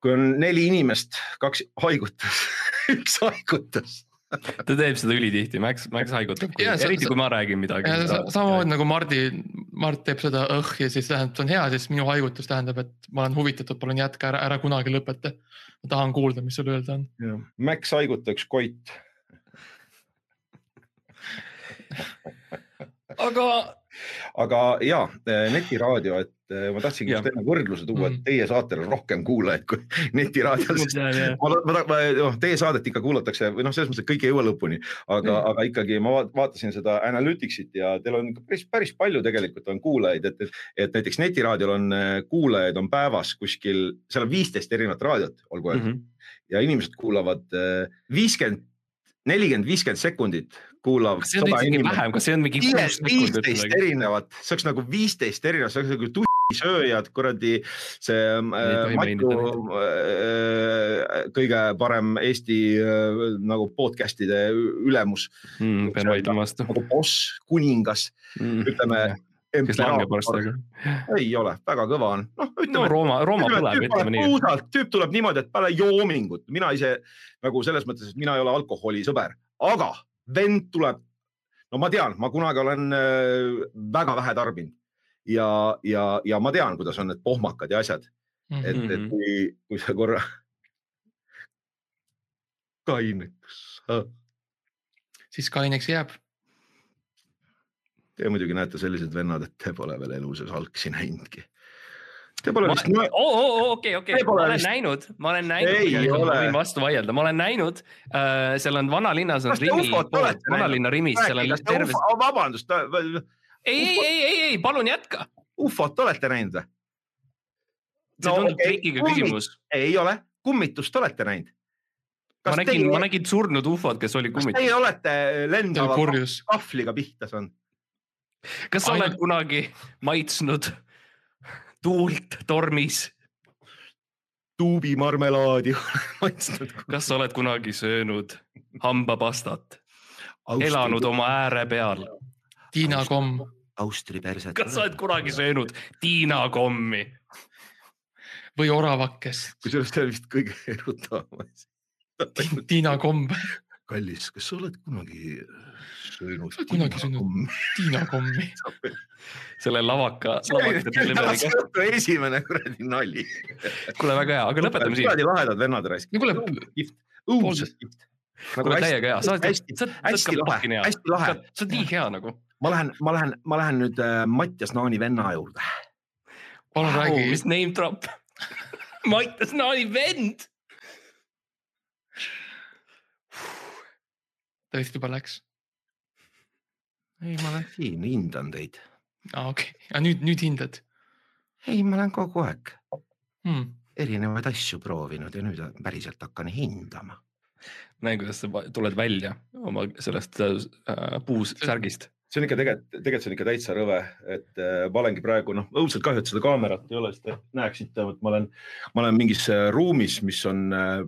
kui on neli inimest, kaks haigutas *laughs* üks haigutas
ta teeb seda ülitihti, Max, Max haigutab, eriti kui ma räägin midagi.
samamoodi nagu Mardi, Mart teeb seda õh ja siis tähendab, see on hea, siis minu haigutus tähendab, et ma olen huvitatud, palun jätka, ära, ära kunagi lõpeta. ma tahan kuulda, mis sul öelda on.
Max haiguta üks koit
aga.
aga ja, netiraadio, et eh, ma tahtsingi just enne võrdluse tuua, et teie saatel on rohkem kuulajaid kui *laughs* netiraadiol, sest ma, ma, ma, noh, teie saadet ikka kuulatakse või noh, selles mõttes, et kõik ei jõua lõpuni, aga, aga ikkagi ma vaatasin seda Analyticsit ja teil on päris, päris palju tegelikult on kuulajaid, et, et, et näiteks netiraadiol on eh, kuulajaid on päevas kuskil, seal on viisteist erinevat raadiot, olgu
Mhm.
öeldud mm -hmm. ja inimesed kuulavad viiskümmend äh, nelikümmend, viiskümmend sekundit kuulab.
kas see on isegi vähem, kas see on mingi kuus sekundit?
viisteist erinevat, see oleks nagu viisteist erinevat, see oleks nagu tussisööjad, kuradi see äh, Matu äh, kõige parem Eesti äh, nagu podcast'ide ülemus
mm,. pean vaidlema vastu.
nagu boss, kuningas mm,, ütleme yeah
Mhm, kes langeb varsti.
ei ole, väga kõva on.
noh, ütleme no,. Rooma, Rooma põleb, ütleme nii.
puusalt, tüüp tuleb niimoodi, et pole joomingut, mina ise nagu selles mõttes, et mina ei ole alkoholisõber, aga vend tuleb. no ma tean, ma kunagi olen äh, väga vähe tarbinud ja, ja, ja ma tean, kuidas on need pohmakad ja asjad mm. -hmm.
Mhm.
et,
Mhm.
et kui, kui sa korra kaineks.
siis kaineks jääb
Te muidugi näete sellised vennad, et te pole veel elu sees halksi näinudki. Te pole vist.
*laughs* Oh, okei, okei, ma olen vist... näinud, ma olen näinud, ma võin vastu vaielda, ma olen näinud uh,, seal on vanalinnas on Rimi, vanalinna Rimis, seal on
terve. vabandust.
ei, ei, ei, ei, palun jätka.
ufot olete näinud või?
see no, tundub okay. trikiga Kummit... küsimus.
ei ole, kummitust olete näinud?
ma nägin teie..., ma nägin surnud ufod, kes oli kummitus.
Teie olete äh, lendava kahvliga pihta saanud?
kas sa Ainu... oled kunagi maitsnud tuult tormis?
tuubimarmelaadi *laughs* maitsnud.
kas sa oled kunagi söönud hambapastat? elanud oma ääre peal?
tiinakomm.
Austri perset.
kas sa oled kunagi söönud tiinakommi?
või oravakest?
kusjuures see on vist kõige erutavam asi.
tiinakomm.
kallis, kas sa oled kunagi äh, söönud?
kunagi
*laughs*
söönud tiinakommi?
selle lavaka,
lavaka. esimene kuradi nali.
kuule, väga hea, aga lõpetame siin.
kuradi lahedad vennad raisk.
no kuule,
õudselt kihvt.
kuule, täiega hea, sa oled, sa oled,
hästi lahe, hästi lahe.
sa oled nii hea nagu.
ma lähen, ma lähen, ma lähen nüüd äh, Mattias Naani venna juurde.
palun wow, räägi.
mis name drop *laughs* Mattias Naani vend.
ta vist juba läks.
*laughs* ei, ma olen siin, hindan teid
*laughs* aa ah, okei okay., aga nüüd, nüüd hindad?
ei, ma olen kogu aeg
hmm.
erinevaid asju proovinud ja nüüd päriselt hakkan hindama.
näen, kuidas sa tuled välja oma sellest äh, puusärgist.
see on ikka tegelikult, tegelikult see on ikka täitsa rõve, et äh, ma olengi praegu noh, õudselt kahju, et seda kaamerat ei ole, sest te näeksite, et ma olen, ma olen mingis äh, ruumis, mis on äh,,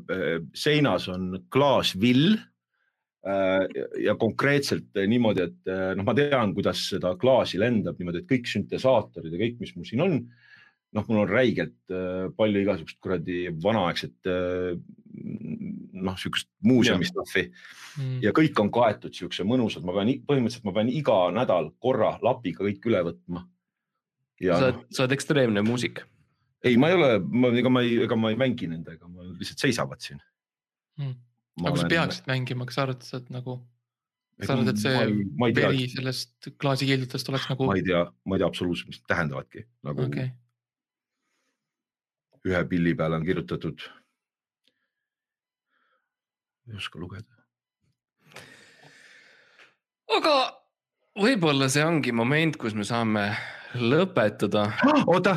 seinas on klaasvill äh, ja konkreetselt niimoodi, et noh, ma tean, kuidas seda klaasi lendab niimoodi, et kõik süntesaatorid ja kõik, mis mul siin on. noh, mul on räigelt äh, palju igasugust kuradi vanaaegset äh, noh, sihukest muuseumi stuff'i
hmm, Mhm.
mm. ja kõik on kaetud sihukese mõnusalt, ma pean põhimõtteliselt, ma pean iga nädal korra lapiga kõik üle võtma. noh,
sa oled, sa oled ekstreemne muusik.
ei, ma ei ole, ma, ega ma ei, ega ma ei mängi nendega, ma lihtsalt seisavad siin
mm aga kui sa peaksid mängima, kas sa arvad, et sa oled nagu, kas sa arvad, et see veri sellest klaasikildudest oleks nagu?
ma ei tea, ma ei tea absoluutselt, mis need tähendavadki nagu
okay..
ühe pilli peale on kirjutatud. ei oska
*gasps*
lugeda.
aga võib-olla see ongi moment, kus me saame lõpetada.
oota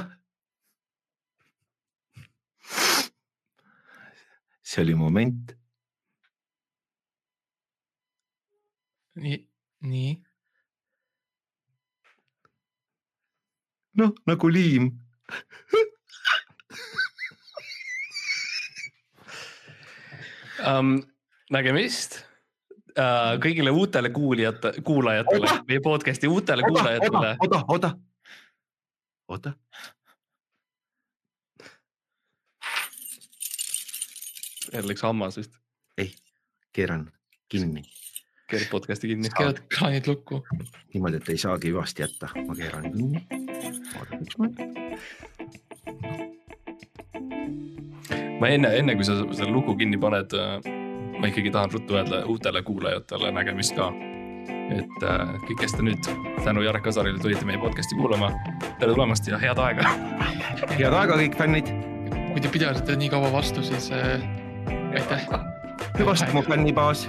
see oli moment
nii, nii.
noh, nagu liim
um,. nägemist uh, kõigile uutele kuulijate, kuulajatele, meie podcast'i uutele oda, kuulajatele.
oota, oota, oota.
jälle läks hammas vist.
ei, keeran kinni
keerad podcast'i kinni.
keerad kraanid lukku.
niimoodi, et ei saagi hüvasti jätta, ma keeran kinni. vaatan üks mõte.
ma enne, enne kui sa selle luku kinni paned, äh, ma ikkagi tahan ruttu öelda uutele kuulajatele nägemist ka. et äh, kõik, kes te nüüd tänu Jarek Kasarile tulite meie podcast'i kuulama, tere tulemast ja head aega
head aega kõik fännid.
kui te pidasite nii kaua vastu, siis äh, aitäh.
hüvasti mu fännibaas.